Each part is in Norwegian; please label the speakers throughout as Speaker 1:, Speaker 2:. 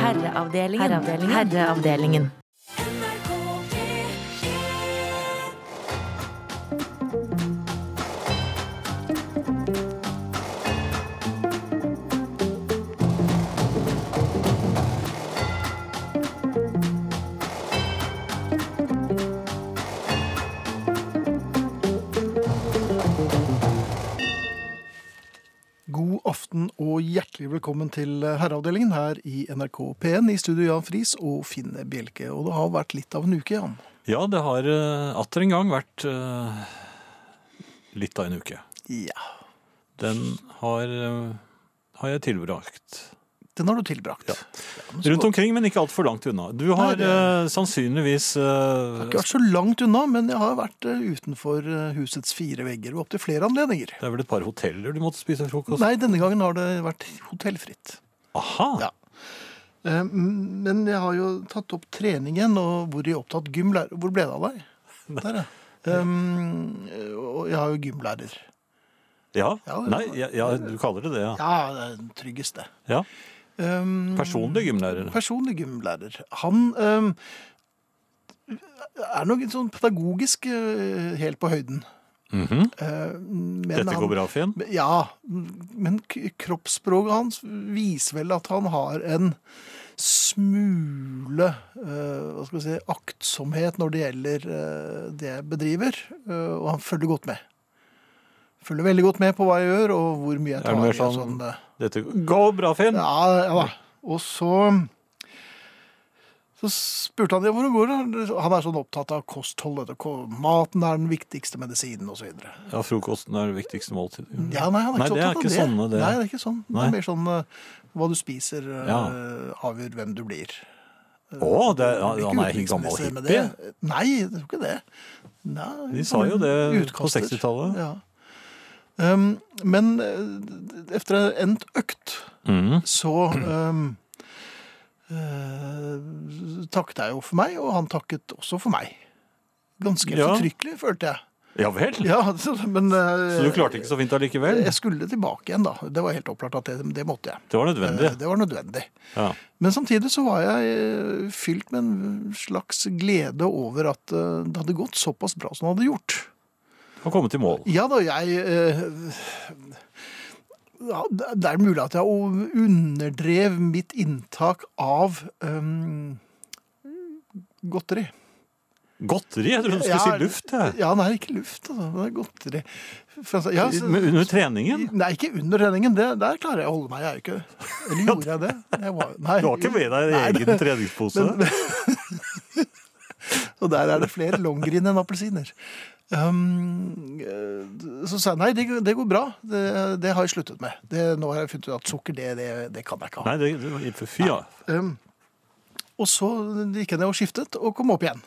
Speaker 1: Herreavdelingen. Herreavdelingen.
Speaker 2: God aften og hjertelig velkommen til Herreavdelingen her i NRK P1. I studio Jan Friis og Finn Bjelke. Og det har vært litt av en uke, Jan.
Speaker 3: Ja, det har eh, atter en gang vært eh, litt av en uke.
Speaker 2: Ja.
Speaker 3: Den har, eh, har jeg tilbrakt
Speaker 2: Den har du tilbrakt.
Speaker 3: Ja.
Speaker 2: men så
Speaker 3: rundt
Speaker 2: godt.
Speaker 3: omkring, men ikke altfor langt unna. Du har
Speaker 2: det-
Speaker 3: eh, sannsynligvis
Speaker 2: Jeg har
Speaker 3: eh,
Speaker 2: ikke vært så langt unna, men jeg har vært eh, utenfor eh, husets fire vegger og opptil flere anledninger.
Speaker 3: Det er vel et par hoteller du måtte spise frokost?
Speaker 2: Nei, denne gangen har det vært hotellfritt.
Speaker 3: Aha!
Speaker 2: Ja. Eh, m- Men jeg har jo tatt opp trening igjen, og hvor i opptatt gymlærer Hvor ble det av deg? Der, ja. Um, og jeg har jo gymlærer.
Speaker 3: Ja.
Speaker 2: Ja, det-
Speaker 3: Nei, ja, ja, du kaller det det, ja.
Speaker 2: Ja, det er den tryggeste.
Speaker 3: ja.
Speaker 2: Um,
Speaker 3: Personlig gymlærer.
Speaker 2: personlig gymlærer. Han um, er nok litt sånn pedagogisk eh, helt på høyden.
Speaker 3: Mhm.
Speaker 2: Eh, men
Speaker 3: Dette
Speaker 2: han-
Speaker 3: går bra, Finn.
Speaker 2: Ja, men k- kroppsspråket hans viser vel at han har en smule eh, hva skal vi si, aktsomhet når det gjelder eh, det jeg bedriver, eh, og han følger godt med. Følger veldig godt med på hva jeg gjør, og hvor mye jeg
Speaker 3: Er det
Speaker 2: tar.
Speaker 3: mer
Speaker 2: i og
Speaker 3: sånn-
Speaker 2: sånn, eh,
Speaker 3: Dette går bra, Finn!
Speaker 2: ja, ja da. Og så så spurte han ja, hvordan går det. Han er sånn opptatt av kosthold. dette, ko- Maten er den viktigste medisinen osv.
Speaker 3: Ja, frokosten er det viktigste måltidet.
Speaker 2: Ja, nei, han er
Speaker 3: Nei,
Speaker 2: ikke
Speaker 3: det er
Speaker 2: opptatt av
Speaker 3: ikke
Speaker 2: det.
Speaker 3: sånne, det.
Speaker 2: Nei, det er ikke sånn. Det
Speaker 3: Nei.
Speaker 2: er mer sånn eh, hva du spiser, eh,
Speaker 3: Ja.
Speaker 2: avgjør hvem du blir.
Speaker 3: Å, det er-
Speaker 2: Du blir
Speaker 3: han er ikke gammel
Speaker 2: utenriksminister med
Speaker 3: hippie!
Speaker 2: det. Nei, det er jo ikke det. Nei,
Speaker 3: De sa jo det på
Speaker 2: utkaster.
Speaker 3: 60-tallet.
Speaker 2: Ja. Um, men eh, etter endt økt
Speaker 3: Mhm.
Speaker 2: så ehm, eh, takket jeg jo for meg, og han takket også for meg. Ganske
Speaker 3: Ja.
Speaker 2: eftertrykkelig, følte jeg.
Speaker 3: Ja vel!
Speaker 2: Ja, så, men eh,
Speaker 3: Så du klarte ikke så fint allikevel?
Speaker 2: Jeg skulle tilbake igjen, da. Det var helt opplagt at det, det måtte jeg.
Speaker 3: Det var
Speaker 2: Eh,
Speaker 3: nødvendig.
Speaker 2: Det var nødvendig.
Speaker 3: Ja.
Speaker 2: Men samtidig så var jeg eh, fylt med en slags glede over at eh, det hadde gått såpass bra som det hadde gjort.
Speaker 3: Å komme til mål.
Speaker 2: Ja da, jeg eh, ja, Det er mulig at jeg o- underdrev mitt inntak av eh, godteri.
Speaker 3: Godteri? Jeg trodde du skulle
Speaker 2: Ja,
Speaker 3: si luft. Jeg.
Speaker 2: Ja, nei, ikke luft, altså. Det er godteri. Fra- Ja, så-
Speaker 3: Men Under treningen?
Speaker 2: Nei, ikke under treningen. Det, der klarer jeg å holde meg. Jeg er jo ikke Eller gjorde jeg det? Jeg var, nei,
Speaker 3: Du har ikke med deg
Speaker 2: Nei,
Speaker 3: egen treningspose?
Speaker 2: Og der er det flere longgreen enn appelsiner. Um, eh, så sa jeg nei, det, det går bra. Det, det har jeg sluttet med. Det, nå har jeg funnet ut at sukker, det, det, det kan jeg ikke ha.
Speaker 3: Nei, det, det var for fy, ja.
Speaker 2: Um, og så gikk jeg ned og skiftet, og kom opp igjen.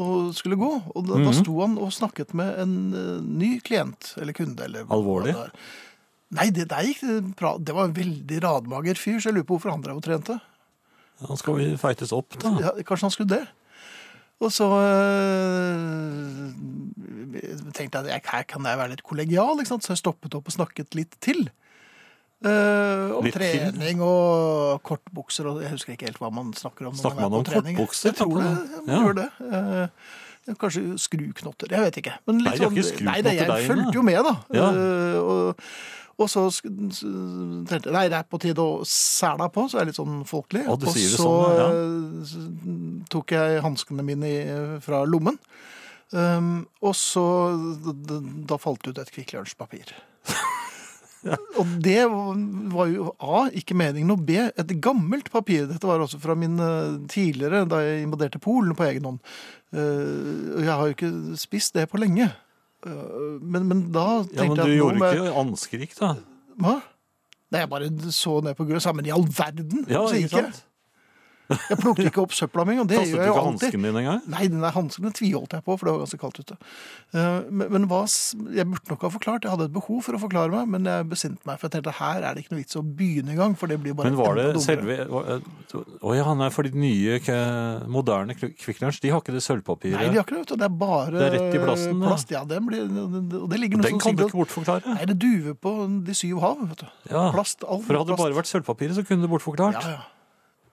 Speaker 2: Og skulle gå. Og da,
Speaker 3: Mhm.
Speaker 2: da sto han og snakket med en eh, ny klient, eller kunde, eller hva
Speaker 3: Alvorlig?
Speaker 2: det var. Nei, det der gikk det bra. Det var en veldig radmager fyr, så jeg lurer på hvorfor han drev og trente.
Speaker 3: Han skal vi feites opp, da.
Speaker 2: Ja, kanskje han skulle det. Og så øh, tenkte jeg at jeg, her kan jeg være litt kollegial, ikke sant? så jeg stoppet opp og snakket litt til. Eh, om
Speaker 3: Litt til?
Speaker 2: trening og kortbukser og Jeg husker ikke helt hva man snakker om. når
Speaker 3: Snakker
Speaker 2: er
Speaker 3: man om
Speaker 2: på trening.
Speaker 3: kortbukser?
Speaker 2: Jeg tror det. Man
Speaker 3: Ja.
Speaker 2: gjør det. Eh, ja, kanskje skruknotter. Jeg vet ikke. Men litt
Speaker 3: Nei, de har ikke
Speaker 2: sånn- nei, det,
Speaker 3: skruknotter
Speaker 2: jeg
Speaker 3: der inne.
Speaker 2: fulgte jo med, da.
Speaker 3: Ja.
Speaker 2: Eh, og, og så sk- s- tenkte jeg nei, det er på tide å sæla på, så jeg er litt sånn folkelig.
Speaker 3: Å, du
Speaker 2: og
Speaker 3: sier det
Speaker 2: så
Speaker 3: sånn, ja.
Speaker 2: eh, s- tok jeg hanskene mine i- fra lommen. Um, og så d- d- Da falt det ut et Kvikk Lunsj-papir. Og det var jo A, ikke meningen, og B, et gammelt papir. Dette var også fra min eh, tidligere, da jeg invaderte Polen på egen hånd. Eh, Og jeg har jo ikke spist det på lenge. Eh, Men, men da
Speaker 3: Ja, Men
Speaker 2: tenkte
Speaker 3: du
Speaker 2: jeg at nå
Speaker 3: gjorde
Speaker 2: må jeg-
Speaker 3: ikke anskrik, da?
Speaker 2: Hva? Nei, jeg bare så ned på gulvet. og sa, Men i all verden!
Speaker 3: Ja,
Speaker 2: så
Speaker 3: ikke
Speaker 2: gikk jeg.
Speaker 3: sant?
Speaker 2: Jeg plukket ikke opp søpla mi, og det
Speaker 3: Kastet
Speaker 2: gjør
Speaker 3: du
Speaker 2: jeg jo
Speaker 3: ikke
Speaker 2: alltid.
Speaker 3: hansken din engang?
Speaker 2: Nei, den der hansken den tviholdt jeg på, for det var ganske kaldt ute. Eh, Men, men hva, s- jeg burde nok ha forklart, jeg hadde et behov for å forklare meg, men jeg besinte meg, for jeg tenkte her er det ikke noe vits å begynne engang, for det blir bare
Speaker 3: Men var
Speaker 2: enda
Speaker 3: det
Speaker 2: dummere.
Speaker 3: selve var- Å ja, nei, for de nye, k- moderne Kvikk Lunsj, de har ikke
Speaker 2: Nei,
Speaker 3: det
Speaker 2: de
Speaker 3: sølvpapiret.
Speaker 2: har ikke det, vet du. Det er bare
Speaker 3: Det er rett i plasten, da.
Speaker 2: plast. Ja, den blir, og det ligger noe som
Speaker 3: Den kan du
Speaker 2: sikkert-
Speaker 3: ikke bortforklare.
Speaker 2: Nei, det er duve på de syv hav, vet du.
Speaker 3: Ja,
Speaker 2: Plast, alt
Speaker 3: For hadde det
Speaker 2: plast.
Speaker 3: bare vært sølvpapiret, så kunne det
Speaker 2: Ja,
Speaker 3: bortforklart.
Speaker 2: ja.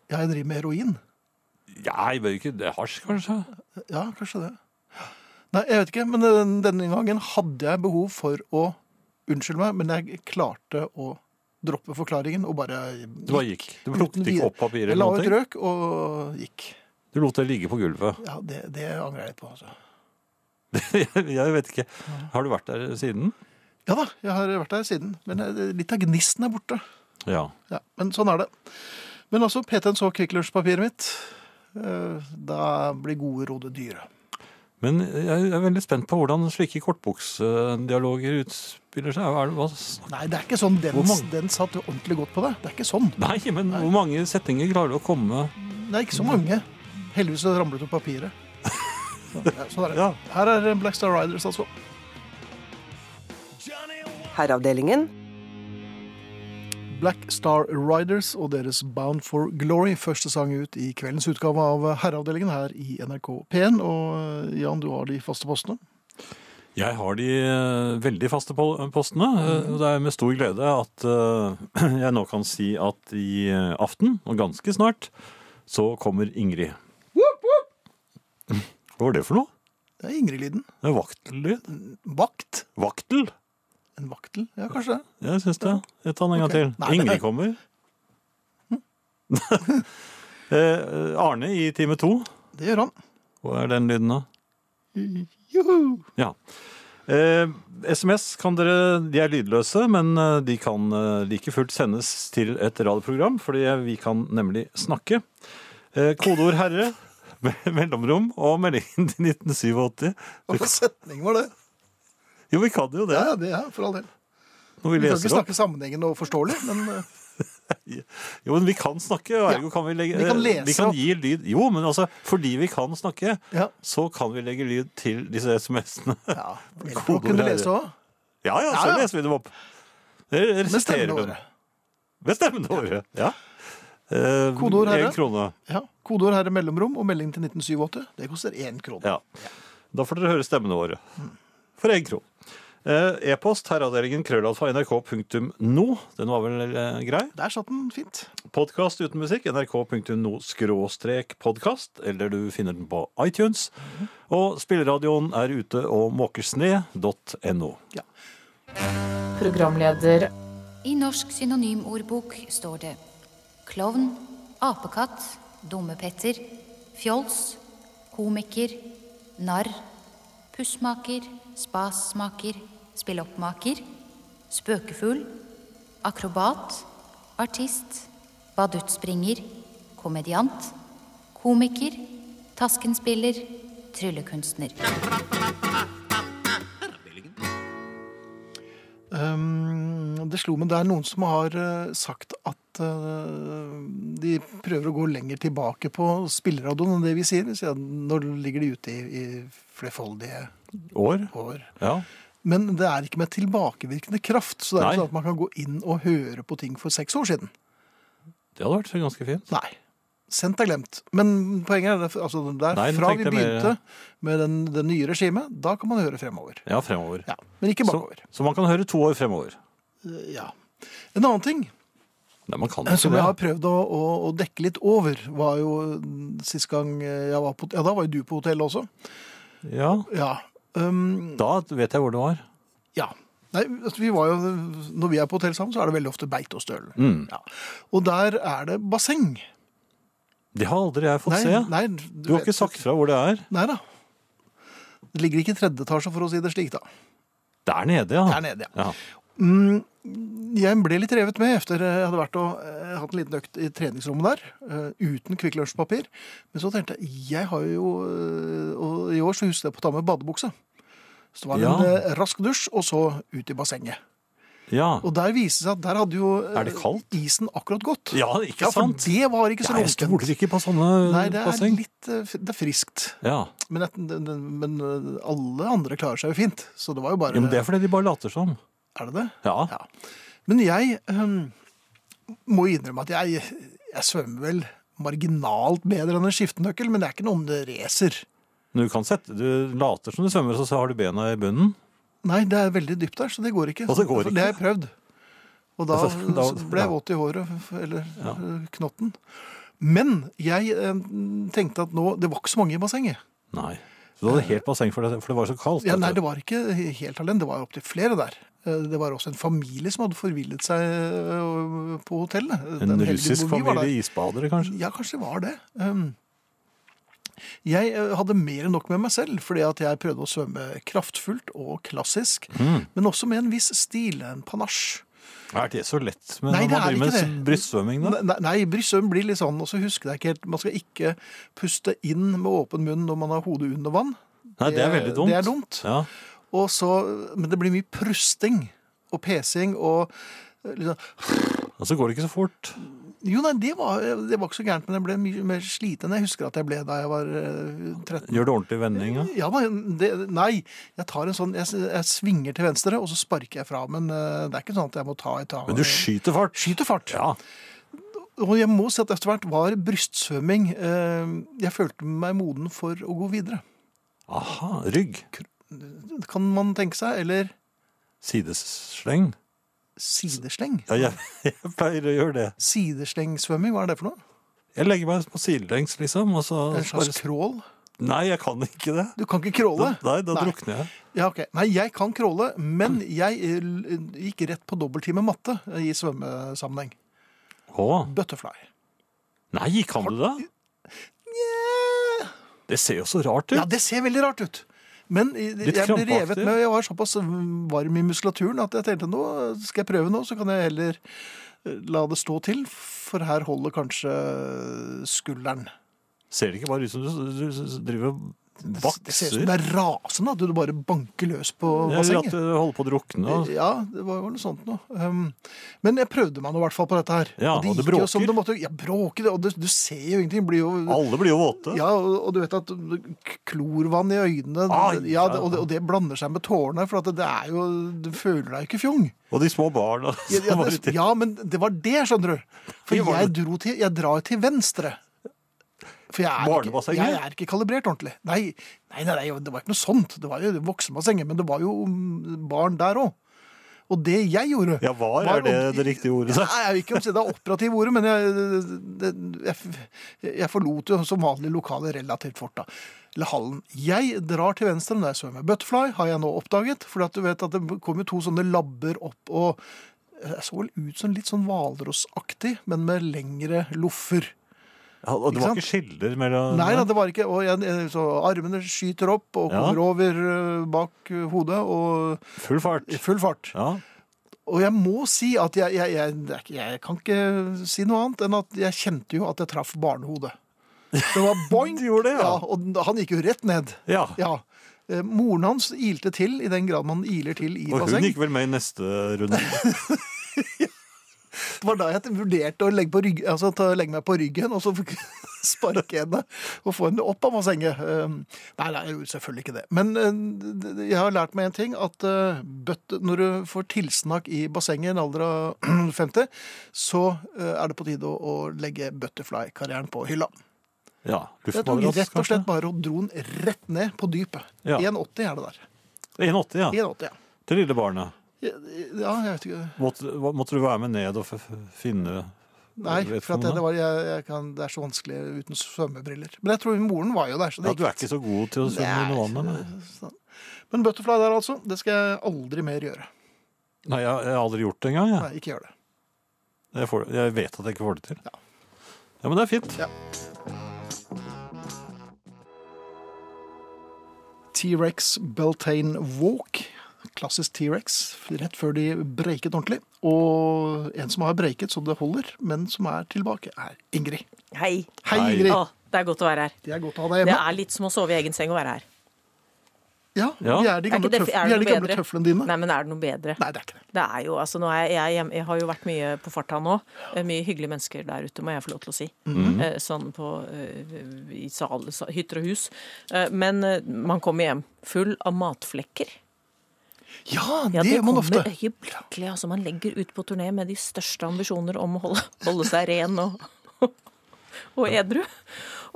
Speaker 2: Ja, jeg driver med heroin.
Speaker 3: Nei, bør ikke det er hasj, kanskje?
Speaker 2: Ja, kanskje det. Nei, jeg vet ikke, men den- denne gangen hadde jeg behov for å Unnskyld meg, men jeg klarte å droppe forklaringen og bare
Speaker 3: Du bare gikk. Du
Speaker 2: Plukk den
Speaker 3: plukket ikke
Speaker 2: videre.
Speaker 3: opp papiret
Speaker 2: Jeg
Speaker 3: eller
Speaker 2: la
Speaker 3: noen
Speaker 2: ut
Speaker 3: ting.
Speaker 2: røk og gikk.
Speaker 3: Du lot det ligge på gulvet.
Speaker 2: Ja, det, det angrer jeg litt på, altså.
Speaker 3: Jeg vet ikke. Har du vært der siden?
Speaker 2: Ja da, jeg har vært der siden. Men eh, litt av gnisten er borte.
Speaker 3: Ja.
Speaker 2: Ja, men sånn er det. Men altså, PT-en så Kvikk Lunsj-papiret mitt. Eh, Da blir gode råd dyre.
Speaker 3: Men jeg er veldig spent på hvordan slike kortbuksdialoger utspiller seg. Er det, hva snak-
Speaker 2: Nei, det er ikke sånn. Den,
Speaker 3: Hvor mange-
Speaker 2: den satt ordentlig godt på deg. Det er ikke sånn.
Speaker 3: Nei, men hvor mange setninger klarer du å komme
Speaker 2: Det er ikke så mange. Heldigvis så ramlet det opp papiret. Så, ja, sånn er det.
Speaker 3: Ja.
Speaker 2: Her er Black Star Riders, altså.
Speaker 1: Herreavdelingen.
Speaker 2: Black Star Riders og deres Bound for Glory. Første sang ut i kveldens utgave av Herreavdelingen her i NRK P1. Og eh, Jan, du har de faste postene.
Speaker 3: Jeg har de eh, veldig faste pol- postene, eh, og det er med stor glede at eh, jeg nå kan si at i eh, aften, og ganske snart, så kommer Ingrid. Hva var det for noe?
Speaker 2: Det er Ingrid-lyden.
Speaker 3: Det er vaktellyd?
Speaker 2: Vakt.
Speaker 3: Vaktel?
Speaker 2: En vaktel. Ja, kanskje det.
Speaker 3: Jeg syns det. Jeg tar den en gang
Speaker 2: Ok.
Speaker 3: til.
Speaker 2: Nei, det-
Speaker 3: Ingrid kommer. Eh, Arne i time to.
Speaker 2: Det gjør han.
Speaker 3: Hva er den lyden, da?
Speaker 2: Juhu!
Speaker 3: Ja. Eh, SMS kan dere, de er lydløse, men eh, de kan eh, like fullt sendes til et radioprogram, fordi eh, vi kan nemlig snakke. Eh, kodeord 'herre', me- mellomrom og meldingen til 1987.
Speaker 2: Hva for setning var det?
Speaker 3: Jo, vi kan jo det
Speaker 2: Ja, det er for all del.
Speaker 3: når
Speaker 2: Vi kan
Speaker 3: vi
Speaker 2: ikke
Speaker 3: leser opp.
Speaker 2: snakke sammenhengende og forståelig, men eh,
Speaker 3: Jo, men vi kan snakke, og ergo kan vi legge eh,
Speaker 2: vi kan lese
Speaker 3: vi kan
Speaker 2: opp.
Speaker 3: gi lyd. Jo, men altså, fordi vi kan snakke,
Speaker 2: ja.
Speaker 3: så kan vi legge lyd til disse SMS-ene.
Speaker 2: ja. Elflok kunne
Speaker 3: Kodeord er-
Speaker 2: lese òg.
Speaker 3: Ja, ja,
Speaker 2: Ja,
Speaker 3: så
Speaker 2: ja.
Speaker 3: leser vi dem opp. Dere
Speaker 2: Med
Speaker 3: resiterer dem.
Speaker 2: stemmeåret.
Speaker 3: Ved stemmende året, ja. Eh,
Speaker 2: Kodeord herre.
Speaker 3: En krone,
Speaker 2: Ja. Kodeord her er mellomrom og melding til 1987. Det koster én krone.
Speaker 3: ja. Da får dere høre stemmende året. For en krone. Eh, E-post herreavdelingen krøllalfa nrk.no. Den var vel eh, grei.
Speaker 2: Der satt den fint.
Speaker 3: Podkast uten musikk nrk.no skråstrek podkast, eller du finner den på iTunes. Og spilleradioen er ute og måker sne.no.
Speaker 4: Programleder
Speaker 5: I Norsk synonymordbok står det klovn, apekatt, dummepetter, fjols, komiker, narr, pussmaker, spasmaker, spilloppmaker, spøkefugl, akrobat, artist, badutspringer, komediant, komiker, taskenspiller, tryllekunstner.
Speaker 2: Um, det slo meg det er noen som har eh, sagt at eh, de prøver å gå lenger tilbake på spilleradioen enn det vi sier. Vi sier at nå ligger de ute i, i flerfoldige
Speaker 3: År?
Speaker 2: år.
Speaker 3: Ja.
Speaker 2: Men det er ikke med tilbakevirkende kraft, så det er
Speaker 3: Nei.
Speaker 2: ikke sånn at man kan gå inn og høre på ting for seks år siden.
Speaker 3: Det hadde vært ganske fint.
Speaker 2: Nei. Sendt er glemt. Men poenget er at altså, det er
Speaker 3: Nei, nå
Speaker 2: fra vi
Speaker 3: tenkte jeg
Speaker 2: begynte
Speaker 3: mer-
Speaker 2: med den, det nye regimet, da kan man høre fremover.
Speaker 3: Ja, fremover.
Speaker 2: Ja, Men ikke
Speaker 3: Så,
Speaker 2: bakover.
Speaker 3: så man kan høre to år fremover.
Speaker 2: Eh, Ja. En annen ting
Speaker 3: Nei, man kan
Speaker 2: Eh,
Speaker 3: ikke
Speaker 2: Som jeg har
Speaker 3: det.
Speaker 2: prøvd å, å, å dekke litt over, var jo mm, sist gang eh, jeg var på Ja, da var jo du på hotellet også.
Speaker 3: Ja.
Speaker 2: Ja. Um,
Speaker 3: Da vet jeg hvor det var.
Speaker 2: ja. Nei, altså, vi var jo, når vi er på hotell sammen, så er det veldig ofte Beitostølen.
Speaker 3: Mm.
Speaker 2: Ja. Og der er det basseng.
Speaker 3: Det har aldri jeg fått
Speaker 2: Nei,
Speaker 3: se.
Speaker 2: nei,
Speaker 3: du har
Speaker 2: vet-
Speaker 3: ikke sagt fra hvor det er.
Speaker 2: Nei da. Det ligger ikke i tredje etasje, for å si det slik, da.
Speaker 3: Der nede, ja.
Speaker 2: Der nede, ja.
Speaker 3: ja.
Speaker 2: Mm, jeg ble litt revet med etter jeg hadde vært og eh, hatt en liten økt i treningsrommet der, eh, uten Kvikk Lunsj-papir. Men så tenkte jeg jeg har jo eh, Og i år så husker jeg på å ta med badebukse. Så det var
Speaker 3: Ja.
Speaker 2: en eh, rask dusj, og så ut i bassenget.
Speaker 3: ja.
Speaker 2: Og der viste det seg at der hadde jo eh,
Speaker 3: Er det kaldt?
Speaker 2: isen akkurat gått.
Speaker 3: Ja, ikke
Speaker 2: for
Speaker 3: sant?
Speaker 2: det var ikke så
Speaker 3: Ja, jeg
Speaker 2: lunkent.
Speaker 3: stoler ikke på sånne
Speaker 2: Nei, det er
Speaker 3: basseng.
Speaker 2: litt eh, f- Det er friskt.
Speaker 3: Ja.
Speaker 2: Men, et- men eh, alle andre klarer seg jo fint. Så det var jo bare
Speaker 3: ja, men Det er fordi de bare later som.
Speaker 2: Er det det?
Speaker 3: Ja.
Speaker 2: Ja. Men jeg ehm, må innrømme at jeg, jeg svømmer vel marginalt bedre enn en skiftenøkkel, men det er ikke noen racer.
Speaker 3: Men Du kan sette, du later som du svømmer, så har du bena i bunnen.
Speaker 2: Nei, det er veldig dypt der, så det går ikke.
Speaker 3: Og det går
Speaker 2: For det har jeg prøvd. Og da,
Speaker 3: Altså, da-
Speaker 2: så ble jeg
Speaker 3: ja.
Speaker 2: våt i håret, eller eh, knotten. Men jeg eh, tenkte at nå Det var ikke så mange i bassenget.
Speaker 3: Nei. Så du hadde helt basseng for det, for det var så kaldt.
Speaker 2: Ja, nei,
Speaker 3: vet du.
Speaker 2: det var ikke helt alene. Det var opptil flere der. Eh, Det var også en familie som hadde forvillet seg eh, på hotellet.
Speaker 3: en
Speaker 2: den helgen
Speaker 3: russisk
Speaker 2: hvor vi var der.
Speaker 3: familie isbadere, kanskje?
Speaker 2: Ja, kanskje det var det. Um, jeg eh, hadde mer enn nok med meg selv, fordi at jeg prøvde å svømme kraftfullt og klassisk, men også med en viss stil, en panasj.
Speaker 3: Er det så lett med,
Speaker 2: Nei,
Speaker 3: når
Speaker 2: det
Speaker 3: man
Speaker 2: er
Speaker 3: driver
Speaker 2: ikke
Speaker 3: med
Speaker 2: det.
Speaker 3: brystsvømming? da?
Speaker 2: Nei, nei brystsvøm blir litt sånn, og så husker jeg ikke helt, man skal ikke puste inn med åpen munn når man har hodet under vann.
Speaker 3: Nei, det er veldig dumt.
Speaker 2: Det er dumt.
Speaker 3: Ja.
Speaker 2: Og så, men det blir mye prusting og pesing og eh, liksom,
Speaker 3: Og så går det ikke så fort.
Speaker 2: Jo, nei, det var, det var ikke så gærent, men jeg ble mye mer sliten enn jeg husker at jeg ble da jeg var eh, 13.
Speaker 3: Gjør det ordentlig vending, ja.
Speaker 2: Ja, da, det, nei, jeg tar en sånn jeg, jeg svinger til venstre, og så sparker jeg fra. Men eh, det er ikke sånn at jeg må ta i ta.
Speaker 3: Men du skyter fart.
Speaker 2: skyter fart.
Speaker 3: Ja.
Speaker 2: Og jeg må si at etter hvert var brystsvømming eh, Jeg følte meg moden for å gå videre.
Speaker 3: Aha. Rygg.
Speaker 2: Kan man tenke seg. Eller
Speaker 3: Sidesleng.
Speaker 2: sidesleng.
Speaker 3: Ja, jeg, jeg pleier å gjøre det.
Speaker 2: Sideslengsvømming, hva er det for noe?
Speaker 3: Jeg legger meg på sidelengs, liksom. Og så
Speaker 2: En slags
Speaker 3: bare,
Speaker 2: crawl?
Speaker 3: nei, jeg kan ikke det.
Speaker 2: Du kan ikke crawle?
Speaker 3: Nei, da drukner jeg.
Speaker 2: Ja, ok. Nei, jeg kan crawle, men jeg eh, l- gikk rett på dobbelttime matte eh, i svømmesammenheng.
Speaker 3: Å.
Speaker 2: Butterfly.
Speaker 3: Nei, kan du det?
Speaker 2: Yeah.
Speaker 3: Det ser jo så rart ut.
Speaker 2: Ja, det ser veldig rart ut. Men i-
Speaker 3: Litt
Speaker 2: jeg ble
Speaker 3: krampaktig.
Speaker 2: revet med, jeg var såpass varm i muskulaturen at jeg tenkte nå skal jeg prøve nå, så kan jeg heller eh, la det stå til, for her holder kanskje skulderen.
Speaker 3: Ser det ikke bare ut som du, du, du driver og
Speaker 2: Det ser ut som
Speaker 3: bakser?
Speaker 2: det er rasende at du bare banker løs på
Speaker 3: Eller at
Speaker 2: bassenget.
Speaker 3: du holder på å drukne. og-
Speaker 2: Ja, det var jo noe sånt noe. Um, men jeg prøvde meg nå i hvert fall på dette her.
Speaker 3: Ja, og det
Speaker 2: gikk jo som
Speaker 3: bråker.
Speaker 2: det måtte. Ja, bråker det, og du, du ser jo ingenting. det Blir jo,
Speaker 3: Alle blir jo våte.
Speaker 2: Ja, og og du vet at k- klorvann i øynene
Speaker 3: Ai,
Speaker 2: ja, det, og, det, og det blander seg med tårene, for at det, det er jo Du føler deg jo ikke fjong.
Speaker 3: Og de små barna
Speaker 2: Ja,
Speaker 3: som
Speaker 2: ja,
Speaker 3: var
Speaker 2: det,
Speaker 3: ute.
Speaker 2: ja, men det var det, skjønner du. For
Speaker 3: Det var
Speaker 2: jeg, dro til, jeg drar til venstre. For jeg er, ikke,
Speaker 3: Barnebassenget?
Speaker 2: jeg er ikke kalibrert ordentlig. Nei, nei, nei, nei, det var ikke noe sånt. Det var jo voksenbassenget, men det var jo mm, barn der òg. Og det jeg gjorde
Speaker 3: Ja, var, er det det riktige ordet?
Speaker 2: Nei, jeg vil ikke si det er operativ ordet, men jeg, det, jeg, jeg forlot jo som vanlig lokalet relativt fort, da. Eller hallen. Jeg drar til venstre når jeg svømmer. Butterfly har jeg nå oppdaget, for at du vet at det kom jo to sånne labber opp og jeg så vel ut som litt sånn hvalrossaktig, men med lengre loffer.
Speaker 3: Ja, og det
Speaker 2: Ikke
Speaker 3: var
Speaker 2: sant?
Speaker 3: ikke skiller mellom
Speaker 2: Nei da, det var ikke Og jeg, jeg- så armene skyter opp og
Speaker 3: Ja.
Speaker 2: kommer over eh, bak hodet og
Speaker 3: Full fart.
Speaker 2: i full fart.
Speaker 3: Ja.
Speaker 2: Og jeg må si at jeg, jeg, jeg, det er ikke- jeg kan ikke si noe annet enn at jeg kjente jo at jeg traff barnehodet. Det var boing!
Speaker 3: Du gjorde det, ja.
Speaker 2: og han gikk jo rett ned.
Speaker 3: ja.
Speaker 2: Ja. Eh, Moren hans ilte til i den grad man iler til i
Speaker 3: Og hun
Speaker 2: basseng.
Speaker 3: gikk vel med i neste runde.
Speaker 2: Det var da jeg vurderte å legge, på rygg, altså, ta, legge meg på ryggen og så sparke henne og få henne opp av bassenget. Um, Nei, nei, jeg gjorde selvfølgelig ikke det. Men eh, d- d- jeg har lært meg en ting, at eh, bøtte, når du får tilsnakk i bassenget i en alder av 50, så eh, er det på tide å, å legge butterfly-karrieren på hylla.
Speaker 3: Ja,
Speaker 2: Jeg tok
Speaker 3: luftmadrass,
Speaker 2: rett og
Speaker 3: kanskje?
Speaker 2: slett bare og dro den rett ned på dypet.
Speaker 3: Ja.
Speaker 2: 1,80 er det der.
Speaker 3: 1,80, ja.
Speaker 2: 1,80, ja.
Speaker 3: Til lille barna.
Speaker 2: Ja, jeg vet ikke.
Speaker 3: Måtte, hva- måtte du være med ned og f f finne
Speaker 2: Nei,
Speaker 3: Vet
Speaker 2: for at
Speaker 3: man
Speaker 2: det,
Speaker 3: det?
Speaker 2: det, var, jeg, jeg kan, det er så vanskelig uten svømmebriller. Men jeg tror moren var jo der. Så
Speaker 3: Ja,
Speaker 2: det
Speaker 3: Du er ikke så god til å svømme
Speaker 2: Nei,
Speaker 3: under vannet? Nei,
Speaker 2: sånn. Men butterfly der, altså. Det skal jeg aldri mer gjøre.
Speaker 3: nei jeg, jeg har aldri gjort det engang. Jeg.
Speaker 2: Nei, ikke gjør det.
Speaker 3: Jeg, får, jeg vet at jeg ikke får det til.
Speaker 2: Ja.
Speaker 3: Ja, Men det er fint.
Speaker 2: Ja. T-rex Beltane Walk. Klassisk T-rex. Rett før de breiket ordentlig. Og en som har breiket så det holder, men som er tilbake, er Ingrid.
Speaker 1: Hei.
Speaker 2: Hei,
Speaker 3: Hei.
Speaker 2: Ingrid.
Speaker 1: Å, det er godt å være her.
Speaker 2: Det er godt å ha deg
Speaker 1: Det
Speaker 2: hjemme.
Speaker 1: er litt som å sove i egen seng å være her.
Speaker 2: Ja,
Speaker 3: Ja.
Speaker 2: Vi er de gamle,
Speaker 1: Er ikke det-
Speaker 2: tøf
Speaker 1: er det
Speaker 2: vi er de
Speaker 1: noe
Speaker 2: gamle
Speaker 1: bedre?
Speaker 2: tøflene dine. Nei.
Speaker 1: Nei, men er det noe bedre?
Speaker 2: det er ikke det.
Speaker 1: Det er jo, altså, nå er jeg, hjem- jeg har jo vært mye på farta nå. Eh, Mye hyggelige mennesker der ute, må jeg få lov til å si. Eh, Sånn på eh, i sal, sa- hytter og hus. Eh, Men eh, man kommer hjem full av matflekker.
Speaker 2: Ja,
Speaker 1: Ja,
Speaker 2: det
Speaker 1: det
Speaker 2: gjør man
Speaker 1: kommer
Speaker 2: ofte.
Speaker 1: øyeblikkelig. Altså, man legger ut på turné med de største ambisjoner om å holde, holde seg ren og, og edru.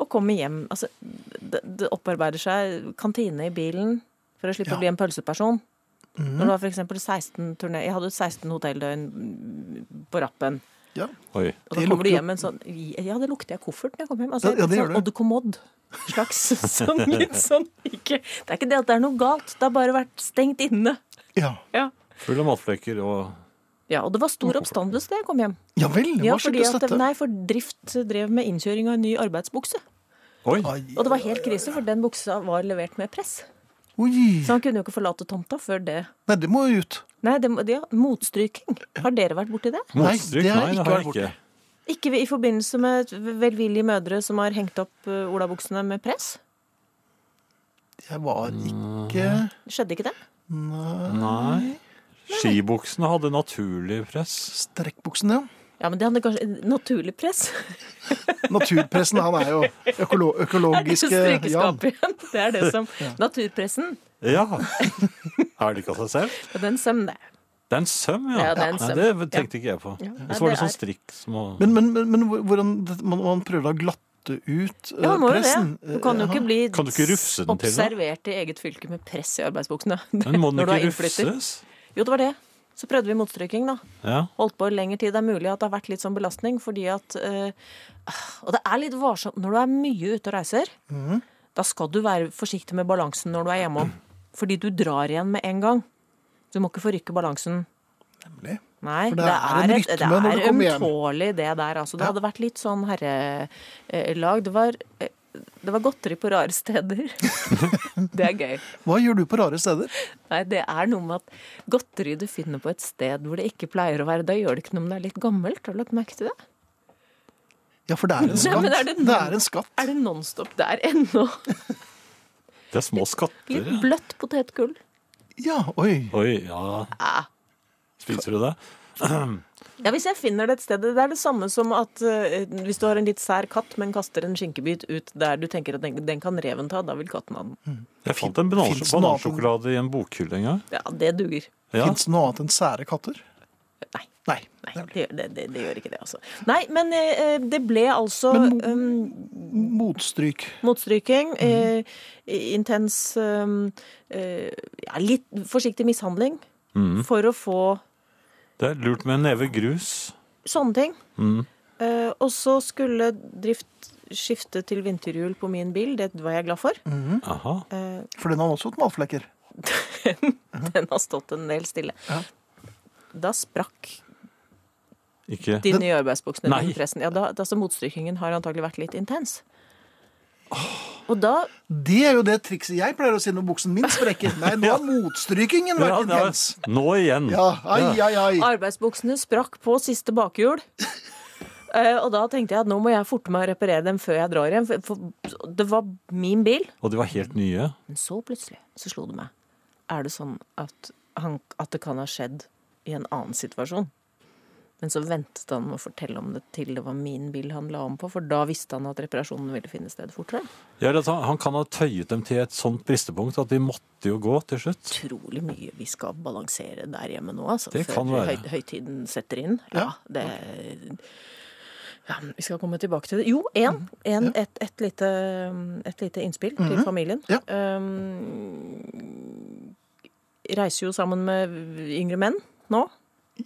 Speaker 1: Og kommer hjem. Altså, det, det opparbeider seg kantine i bilen for å slippe
Speaker 2: Ja. Mhm.
Speaker 1: å bli en pølseperson. Når du har for eksempel 16 turné Jeg hadde 16 hotelldøgn på rappen.
Speaker 2: Ja.
Speaker 3: Oi.
Speaker 1: Og da
Speaker 2: Det
Speaker 1: kommer
Speaker 2: lukter
Speaker 1: du
Speaker 2: jo-
Speaker 1: hjem med en sånn Ja, det lukter jeg koffert når jeg kommer hjem. Altså,
Speaker 2: Ja, ja, det
Speaker 1: litt
Speaker 2: gjør
Speaker 1: sånn
Speaker 2: det.
Speaker 1: Oddekommod. Slags sånn litt sånn ikke Det er ikke det at det er noe galt, det har bare vært stengt inne.
Speaker 2: Ja,
Speaker 1: Ja,
Speaker 3: Full av matflekker og
Speaker 1: ja og det var stor oppstandelse da jeg kom hjem.
Speaker 2: ja vel, det
Speaker 1: Ja,
Speaker 2: var
Speaker 1: fordi
Speaker 2: skikkelig
Speaker 1: at,
Speaker 2: støtte.
Speaker 1: nei, for Drift drev med innkjøring av en ny arbeidsbukse.
Speaker 3: Oi!
Speaker 2: Ai,
Speaker 1: Og det var helt krise, for den buksa var levert med press.
Speaker 2: oi.
Speaker 1: Så han kunne jo ikke forlate tomta før det.
Speaker 2: Nei, det må jo ut.
Speaker 1: Nei, det, må- ja, motstryking. Har dere vært borti det?
Speaker 2: Nei,
Speaker 3: Motstryk?
Speaker 2: det
Speaker 3: Nei,
Speaker 2: har
Speaker 3: det
Speaker 2: ikke
Speaker 3: har jeg
Speaker 2: vært
Speaker 3: ikke.
Speaker 1: Ikke i forbindelse med velvillige mødre som har hengt opp eh, olabuksene med press?
Speaker 2: Jeg var ikke
Speaker 1: Skjedde ikke det?
Speaker 2: Nei.
Speaker 3: Nei. Skibuksene hadde naturlig press.
Speaker 2: Strekkbuksen, ja.
Speaker 1: Ja, men det hadde kanskje naturlig press.
Speaker 2: Naturpressen, han er jo økolo
Speaker 1: Det er det
Speaker 2: økologiske Jan.
Speaker 1: strykeskapet igjen. Det er det som Naturpressen,
Speaker 3: Ja. Er det ikke av seg selv?
Speaker 1: og den søm, det.
Speaker 3: Det er en søm, ja.
Speaker 1: Ja, det er en søm.
Speaker 3: Nei, det tenkte ikke jeg på.
Speaker 1: Ja.
Speaker 3: Og så var det sånn strikk som å
Speaker 2: Men, men, men, men hvor- hvordan det- man, man prøvde å glatte ut eh,
Speaker 1: Ja, man må jo det.
Speaker 2: pressen?
Speaker 1: Du kan jo
Speaker 2: Jaha.
Speaker 1: ikke bli
Speaker 3: eh, Kan du ikke rufse den til, da?
Speaker 1: observert i eget fylke med press i arbeidsbuksene.
Speaker 3: Men må den
Speaker 1: Når du er
Speaker 3: ikke
Speaker 1: innflytter.
Speaker 3: rufses?
Speaker 1: Jo, det var det. Så prøvde vi motstryking, da.
Speaker 3: Ja.
Speaker 1: Holdt på i lengre tid. Det er mulig at det har vært litt sånn belastning, fordi at eh, Og det er litt varsomt når du er mye ute og reiser.
Speaker 3: Mhm.
Speaker 1: Da skal du være forsiktig med balansen når du er hjemom. Fordi du drar igjen med en gang. Du må ikke forrykke balansen.
Speaker 2: Nemlig.
Speaker 1: Nei,
Speaker 2: For
Speaker 1: det, er,
Speaker 2: en
Speaker 1: et- det
Speaker 2: rytme når
Speaker 1: er
Speaker 2: du kommer hjem.
Speaker 1: ømtålig det der. Altså. Det
Speaker 2: Ja.
Speaker 1: hadde vært litt sånn herrelag. Det var, eh, det var godteri på rare steder. det er gøy.
Speaker 2: Hva gjør du på rare steder?
Speaker 1: Nei, det er noe med at godteri du finner på et sted hvor det ikke pleier å være, da gjør det ikke noe om det er litt gammelt. Har du lagt merke til det?
Speaker 2: Ja, for det er en skatt.
Speaker 1: men er
Speaker 2: det,
Speaker 1: det-
Speaker 2: er en skatt.
Speaker 1: Er det Nonstop der ennå?
Speaker 3: Det er små skatter.
Speaker 1: Litt
Speaker 3: ja.
Speaker 1: bløtt potetgull.
Speaker 2: Ja, oi.
Speaker 3: Oi, ja. Spiser du det?
Speaker 1: Ja, Hvis jeg finner det et sted Det er det samme som at eh, hvis du har en litt sær katt, men kaster en skinkebit ut der du tenker at den, den kan reven ta, da vil katten ha den.
Speaker 3: Jeg fant en banan-
Speaker 2: Finnes den
Speaker 3: banansjokolade i en bokhylle en gang.
Speaker 1: Ja, det duger.
Speaker 3: Ja.
Speaker 2: Fins det noe annet enn sære katter?
Speaker 1: Nei.
Speaker 2: Nei.
Speaker 1: Nei, det, det, det, det gjør ikke det, altså. Nei, men eh, det ble altså um,
Speaker 2: Motstryk.
Speaker 1: motstryking, eh, intens um, eh, ja, Litt forsiktig mishandling for å få
Speaker 3: Det er lurt med en neve grus.
Speaker 1: sånne ting. Eh, og så skulle drift skifte til vinterhjul på min bil, det var jeg glad for.
Speaker 3: Aha.
Speaker 1: Eh,
Speaker 2: For den har også hatt matflekker.
Speaker 1: den har stått en del stille.
Speaker 2: Ja.
Speaker 1: Da sprakk
Speaker 3: Ikke
Speaker 1: de nye arbeidsbuksene
Speaker 3: Nei.
Speaker 1: under pressen. Ja, da, altså motstrykingen har antagelig vært litt intens. Og da
Speaker 2: Det er jo det trikset jeg pleier å si når buksen min sprekker. Nei, nå har motstrykingen
Speaker 3: Ja,
Speaker 2: vært
Speaker 3: det var-
Speaker 2: intens.
Speaker 3: Nå igjen.
Speaker 2: Ja, ai, ai, ai.
Speaker 1: Arbeidsbuksene sprakk på siste bakhjul. Eh, og da tenkte jeg at nå må jeg forte meg å reparere dem før jeg drar hjem. For, for det var min bil.
Speaker 3: Og de var helt nye.
Speaker 1: Men så plutselig så slo det meg. Er det sånn at, han, at det kan ha skjedd i en annen situasjon? Men så ventet han med å fortelle om det til det var min bil han la om på, for da visste han at reparasjonen ville finne sted fortere.
Speaker 3: Ja, det, er sant. han kan ha tøyet dem til et sånt bristepunkt at de måtte jo gå til slutt.
Speaker 1: Utrolig mye vi skal balansere der hjemme nå, altså.
Speaker 3: Det kan
Speaker 1: før
Speaker 3: være.
Speaker 1: høy- høytiden setter inn. Ja, det ja, men Vi skal komme tilbake til det. Jo,
Speaker 3: Mhm.
Speaker 1: en, en, et, et, lite, et lite innspill til familien.
Speaker 2: Ja.
Speaker 1: Um, reiser jo sammen med yngre menn nå.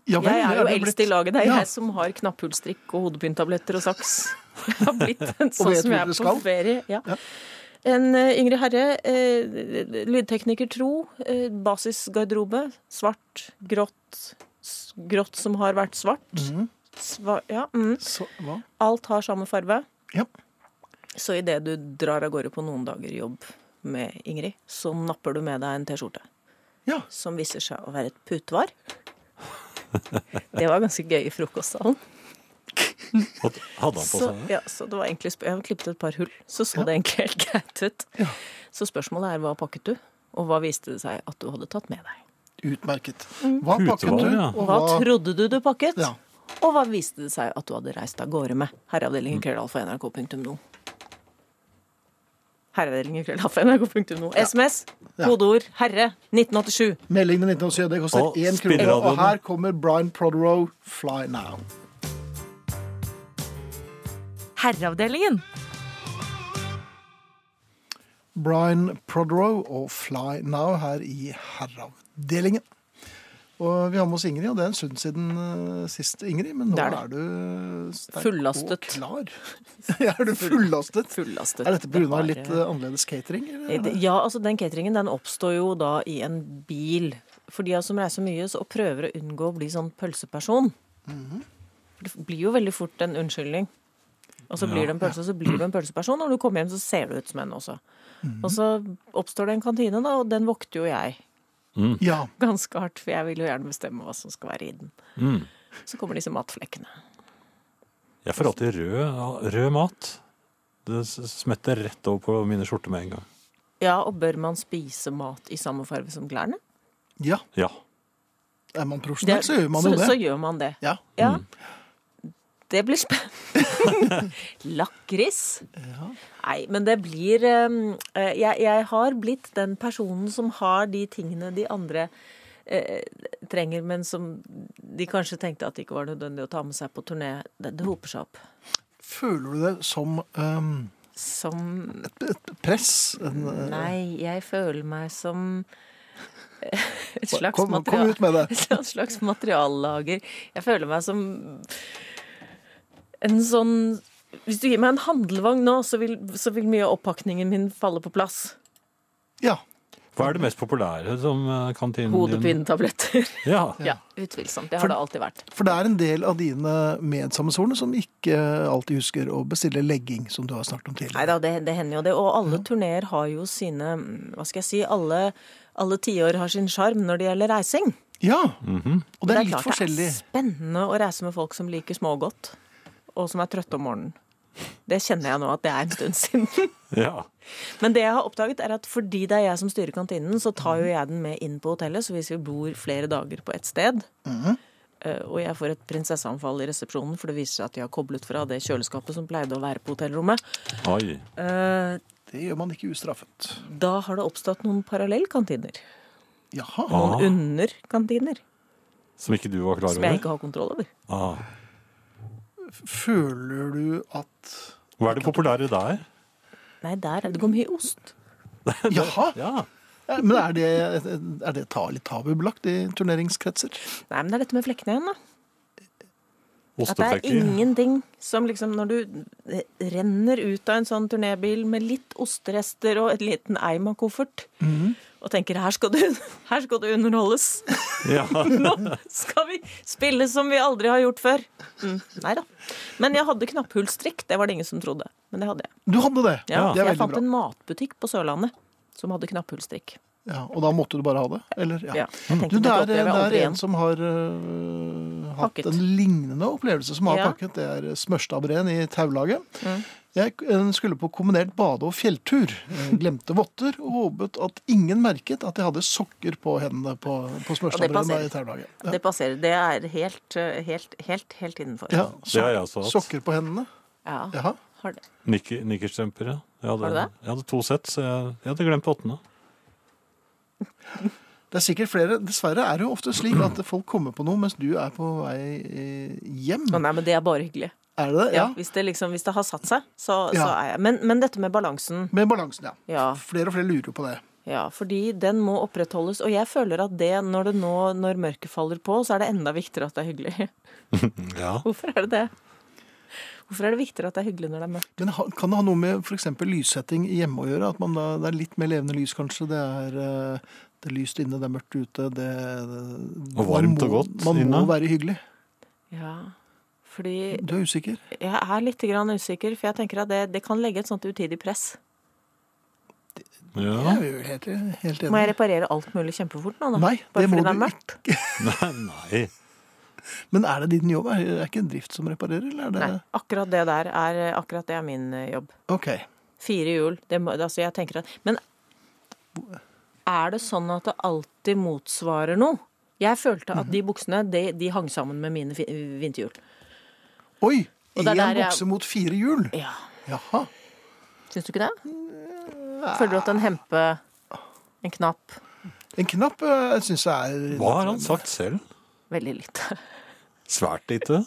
Speaker 2: Ja, vel,
Speaker 1: Jeg er jo
Speaker 2: det
Speaker 1: eldst i
Speaker 2: blitt.
Speaker 1: laget. Det er
Speaker 2: Ja.
Speaker 1: jeg som har knapphullstrikk og hodepintabletter og saks. Jeg har blitt en sånn
Speaker 2: vet hvor
Speaker 1: som jeg er
Speaker 2: du
Speaker 1: på
Speaker 2: skal.
Speaker 1: ferie. Ja.
Speaker 2: Ja.
Speaker 1: En eh, yngre herre, eh, lydtekniker Tro, eh, basisgarderobe, svart, grått, s- grått som har vært svart.
Speaker 2: Mhm.
Speaker 1: Sva ja, mm.
Speaker 2: Så, hva?
Speaker 1: Alt har samme farve.
Speaker 2: Ja.
Speaker 1: Så idet du drar av gårde på noen dager i jobb med Ingrid, så napper du med deg en T-skjorte
Speaker 2: ja.
Speaker 1: som viser seg å være et putevar. Det var ganske gøy i frokostsalen.
Speaker 3: Og hadde han på
Speaker 1: Så,
Speaker 3: seg det?
Speaker 1: ja, så det var egentlig sp- Jeg klippet et par hull, så så det egentlig helt greit ut. Så spørsmålet er hva pakket du, og hva viste det seg at du hadde tatt med deg?
Speaker 2: Utmerket. Hva pakket
Speaker 3: Putevar,
Speaker 2: du?
Speaker 3: ja.
Speaker 2: Og
Speaker 1: Mm. Hva
Speaker 2: hva
Speaker 1: trodde du du pakket,
Speaker 2: Ja.
Speaker 1: og hva viste det seg at du hadde reist av gårde med?
Speaker 2: Mm.
Speaker 1: Herreavdelingen krøllalfa nrk.no. Herreavdelingen krøllalfa nrk.no. SMS,
Speaker 2: Ja.
Speaker 1: kodeord 'herre' 1987.
Speaker 2: Meldingen til 1987, det
Speaker 3: Og
Speaker 2: koster én krone.
Speaker 3: spilleradioen.
Speaker 2: Og her kommer Brian Prodero, 'Fly Now'.
Speaker 4: Herreavdelingen.
Speaker 2: Brian Prodero og Fly Now her i herreavdelingen. Og vi har med oss Ingrid, og det er en stund siden eh, sist, Ingrid. Men nå
Speaker 1: Det er
Speaker 2: er,
Speaker 1: det.
Speaker 2: du sterk
Speaker 1: Fullastet.
Speaker 2: og klar. er du fullastet?
Speaker 1: Fullastet.
Speaker 2: Er dette
Speaker 1: Det
Speaker 2: pga.
Speaker 1: var,
Speaker 2: litt eh, annerledes catering?
Speaker 1: eh,
Speaker 2: Eller?
Speaker 1: det- Ja, altså den cateringen den oppstår jo da i en bil. For de av oss som reiser mye så, og prøver å unngå å bli sånn pølseperson.
Speaker 2: Mhm.
Speaker 1: For Det blir jo veldig fort en unnskyldning. Og så blir du en pølse, og så blir du en pølseperson. Og når du kommer hjem, så ser du ut som en også.
Speaker 2: Mhm.
Speaker 1: Og så oppstår det en kantine, da, og den vokter jo jeg
Speaker 2: Ja.
Speaker 1: ganske hardt. For jeg vil jo gjerne bestemme hva som skal være i den.
Speaker 3: Mm.
Speaker 1: Så kommer disse matflekkene.
Speaker 3: Jeg får alltid rød, rød mat. Det s- smetter rett over på mine skjorter med en gang.
Speaker 1: Ja, og bør man spise mat i samme farge som klærne?
Speaker 2: ja.
Speaker 3: Ja.
Speaker 2: Er man profesjonell, så gjør man
Speaker 1: så,
Speaker 2: jo
Speaker 1: så
Speaker 2: det.
Speaker 1: gjør man det.
Speaker 2: Ja.
Speaker 1: Ja. Det blir spennende. Lakris? Nei, men det blir um, eh, jeg, jeg har blitt den personen som har de tingene de andre eh, trenger, men som de kanskje tenkte at det ikke var nødvendig å ta med seg på turné. Det, det hoper seg opp.
Speaker 2: Føler du det som ehm,
Speaker 1: Som
Speaker 2: et press? En, eh,
Speaker 1: Nei, jeg føler meg som eh, et slags
Speaker 2: kom, kom
Speaker 1: material-
Speaker 2: ut med det.
Speaker 1: Et slags materiallager. Jeg føler meg som en sånn Hvis du gir meg en handlevogn nå, så vil, så vil mye av oppakningen min falle på plass.
Speaker 2: Ja.
Speaker 3: Hva er det mest populære som eh, kantinen din-
Speaker 1: Hodepinetabletter.
Speaker 3: Ja.
Speaker 1: Ja, utvilsomt. Det
Speaker 2: Mm, For-
Speaker 1: har det alltid vært.
Speaker 2: For det er en del av dine medsammensvorne som ikke alltid husker å bestille legging, som du har snakket om
Speaker 1: Nei
Speaker 2: tidligere.
Speaker 1: da, det, det hender jo det. Og alle turneer har jo sine mm, Hva skal jeg si? Alle, alle tiår har sin sjarm når det gjelder reising.
Speaker 2: Ja, og det er, litt
Speaker 1: klart
Speaker 2: forskjellig.
Speaker 1: Det er spennende å reise med folk som liker smågodt, og som er trøtte om morgenen. Det kjenner jeg nå at det er en stund siden.
Speaker 3: ja.
Speaker 1: Men det jeg har oppdaget er at fordi det er jeg som styrer kantinen, så tar jo jeg den med inn på hotellet. Så hvis vi bor flere dager på ett sted,
Speaker 2: Mhm.
Speaker 1: eh, og jeg får et prinsesseanfall i resepsjonen, for det viser seg at de har koblet fra det kjøleskapet som pleide å være på hotellrommet,
Speaker 3: Oi.
Speaker 1: eh,
Speaker 2: Det gjør man ikke ustraffet.
Speaker 1: da har det oppstått noen parallellkantiner.
Speaker 2: Jaha.
Speaker 1: Noen
Speaker 3: Ah.
Speaker 1: underkantiner
Speaker 3: Som ikke du var klar
Speaker 1: som jeg
Speaker 3: over?
Speaker 1: ikke har kontroll over.
Speaker 3: Ah.
Speaker 2: Føler du at
Speaker 3: Hva er det populære der?
Speaker 1: Nei, der er det går mye ost.
Speaker 2: Jaha!
Speaker 3: Ja.
Speaker 2: Ja, Men er det, er det ta, litt tabubelagt i turneringskretser?
Speaker 1: Nei, men det er dette med flekkene igjen, da. At det er
Speaker 3: Osteflekker.
Speaker 1: ingenting som liksom Når du renner ut av en sånn turnébil med litt osterester og et liten eim av koffert,
Speaker 2: Mhm.
Speaker 1: og tenker her skal, du, 'her skal du underholdes',
Speaker 3: Ja.
Speaker 1: nå skal vi spille som vi aldri har gjort før. Mm. Nei da. Men jeg hadde knapphullstrikk, det var det ingen som trodde. Men det hadde jeg.
Speaker 2: Du hadde det!
Speaker 1: Ja,
Speaker 2: det er veldig
Speaker 1: jeg fant
Speaker 2: bra.
Speaker 1: en matbutikk på Sørlandet som hadde knapphullstrikk.
Speaker 2: Ja, og da måtte du bare ha det? Eller? Ja.
Speaker 1: Ja,
Speaker 3: Mm.
Speaker 1: jeg tenkte
Speaker 2: Du, det
Speaker 1: dette
Speaker 2: er,
Speaker 1: opplever
Speaker 2: det
Speaker 1: jeg
Speaker 2: er
Speaker 1: aldri
Speaker 2: en
Speaker 1: igjen.
Speaker 2: som har øh, hatt
Speaker 1: Pakket.
Speaker 2: en lignende opplevelse som har
Speaker 1: Ja. Mm.
Speaker 2: pakket. Det er eh, smørstabreen i Taulaget. Jeg øh, skulle på kombinert bade- og fjelltur. Jeg Glemte votter og håpet at ingen merket at jeg hadde sokker på hendene på, på smørstabreen
Speaker 1: passer.
Speaker 2: i Taulaget. Ja.
Speaker 1: Det passerer. Det er helt, eh, helt, helt, helt innenfor.
Speaker 2: Ja,
Speaker 3: Det har jeg også hatt.
Speaker 2: Sokker på hendene.
Speaker 1: Ja.
Speaker 2: Jaha.
Speaker 1: Har det.
Speaker 3: Nikke- Nikkerstrømper, ja. Jeg hadde,
Speaker 1: Har du det?
Speaker 3: Jeg hadde to sett, så jeg, jeg hadde glemt åttende.
Speaker 2: Det er sikkert flere. Dessverre er det jo ofte slik at folk kommer på noe mens du er på vei eh, hjem.
Speaker 1: Å, nei, men det er bare hyggelig.
Speaker 2: Er det det?
Speaker 1: Ja, hvis, det liksom, hvis det har satt seg, så, så
Speaker 2: Ja.
Speaker 1: er jeg men, men dette med balansen,
Speaker 2: Med balansen, ja.
Speaker 1: Ja.
Speaker 2: Flere og flere lurer jo på det.
Speaker 1: ja, fordi den må opprettholdes. Og jeg føler at det, når, det nå, når mørket faller på, så er det enda viktigere at det er hyggelig.
Speaker 3: Ja.
Speaker 1: Hvorfor er det det? Hvorfor er det viktigere at det er hyggelig når det er mørkt?
Speaker 2: Men ha- kan det ha noe med f.eks. lyssetting i hjemme å gjøre? At man da, det er litt mer levende lys, kanskje? Det er, eh, det er lyst inne, det er mørkt ute. Det,
Speaker 3: Og varmt
Speaker 2: man må,
Speaker 3: og godt
Speaker 2: Man må
Speaker 3: inne.
Speaker 2: være hyggelig.
Speaker 1: Ja, fordi
Speaker 2: Du er usikker?
Speaker 1: jeg er litt grann usikker, for jeg tenker at det, det kan legge et sånt utidig press.
Speaker 3: ja.
Speaker 2: Jeg er jo helt, helt
Speaker 1: Må
Speaker 2: enig.
Speaker 1: jeg reparere alt mulig kjempefort nå, da?
Speaker 2: Nei,
Speaker 1: Bare
Speaker 2: det må
Speaker 1: fordi det er
Speaker 2: du
Speaker 1: mørkt?
Speaker 3: Nei, nei.
Speaker 2: Men er det din jobb? Er er ikke en drift som reparerer, eller er det
Speaker 1: Nei, akkurat det der er, akkurat det er min eh, jobb.
Speaker 2: OK.
Speaker 1: Fire hjul. Det, må- altså jeg tenker at, men er det sånn at det alltid motsvarer noe? Jeg følte at de buksene de, de hang sammen med mine fi- vinterhjul.
Speaker 2: Oi! Én
Speaker 1: Og det er der jeg-
Speaker 2: bukse mot fire hjul.
Speaker 1: Ja.
Speaker 2: Jaha.
Speaker 1: Syns du ikke det? Føler du at en hempe, en knapp
Speaker 2: En knapp eh, synes jeg er
Speaker 3: Hva har han sagt selv?
Speaker 1: Veldig lite.
Speaker 3: Svært lite.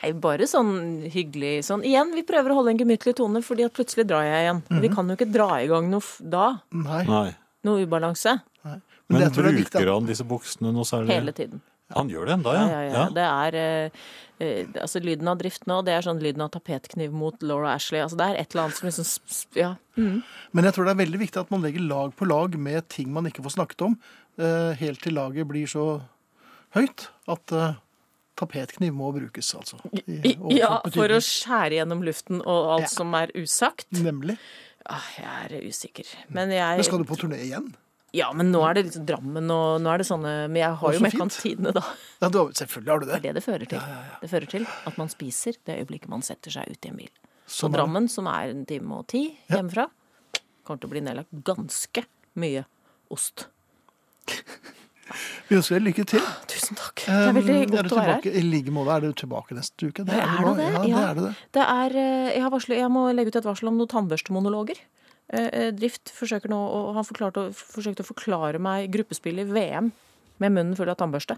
Speaker 1: Nei, bare sånn hyggelig sånn. Igjen, vi prøver å holde en gemyttlig tone, fordi at plutselig drar jeg igjen. Vi kan jo ikke dra i gang noe f- da.
Speaker 2: Nei.
Speaker 3: Nei.
Speaker 1: Noe ubalanse.
Speaker 2: Men,
Speaker 3: Men
Speaker 2: jeg tror det er viktig
Speaker 3: bruker
Speaker 2: at,
Speaker 3: han disse buksene noe særlig?
Speaker 1: Hele tiden.
Speaker 3: Han gjør det enda,
Speaker 1: Ja,
Speaker 3: ja.
Speaker 1: ja, ja. Det er eh, eh, altså lyden av drift nå, det er sånn lyden av tapetkniv mot Laura Ashley. Altså det er et eller annet som liksom sp- sp- Ja.
Speaker 2: men jeg tror det er veldig viktig at man legger lag på lag med ting man ikke får snakket om, eh, helt til laget blir så høyt at eh, tapetkniv må brukes, altså. i
Speaker 1: I, ja,
Speaker 2: overført
Speaker 1: for å
Speaker 2: betydning.
Speaker 1: skjære gjennom luften og alt
Speaker 2: Ja.
Speaker 1: som er usagt.
Speaker 2: Nemlig.
Speaker 1: Ah, jeg er usikker. Men jeg
Speaker 2: Men skal du på turné igjen?
Speaker 1: Ja, men nå er det liksom Drammen og nå er det sånne Men jeg har
Speaker 2: Å,
Speaker 1: jo
Speaker 2: så
Speaker 1: med
Speaker 2: fint.
Speaker 1: kantinene, da.
Speaker 2: Ja, du, har- selvfølgelig har du
Speaker 1: Det er
Speaker 2: det.
Speaker 1: det det fører til. Det fører til at man spiser det øyeblikket man setter seg ut i en bil. Så
Speaker 2: Sånn er det.
Speaker 1: Drammen, som er en time og ti
Speaker 2: Ja.
Speaker 1: hjemmefra, kommer til å bli nedlagt ganske mye ost.
Speaker 2: Vi ønsker deg lykke til.
Speaker 1: Tusen takk. Det er veldig
Speaker 2: Um,
Speaker 1: godt
Speaker 2: du
Speaker 1: å være her.
Speaker 2: tilbake- I like måte er du tilbake neste uke.
Speaker 1: Er
Speaker 2: du
Speaker 1: det
Speaker 2: nå.
Speaker 1: det?
Speaker 2: Ja, det
Speaker 1: Ja.
Speaker 2: er det. det.
Speaker 1: Det er, eh, jeg, har varslet, jeg må legge ut et varsel om noen tannbørstemonologer. Eh, eh, Drift forsøker nå, å- han forklarte, å- forsøkte å forklare meg gruppespill i VM med munnen full av tannbørste.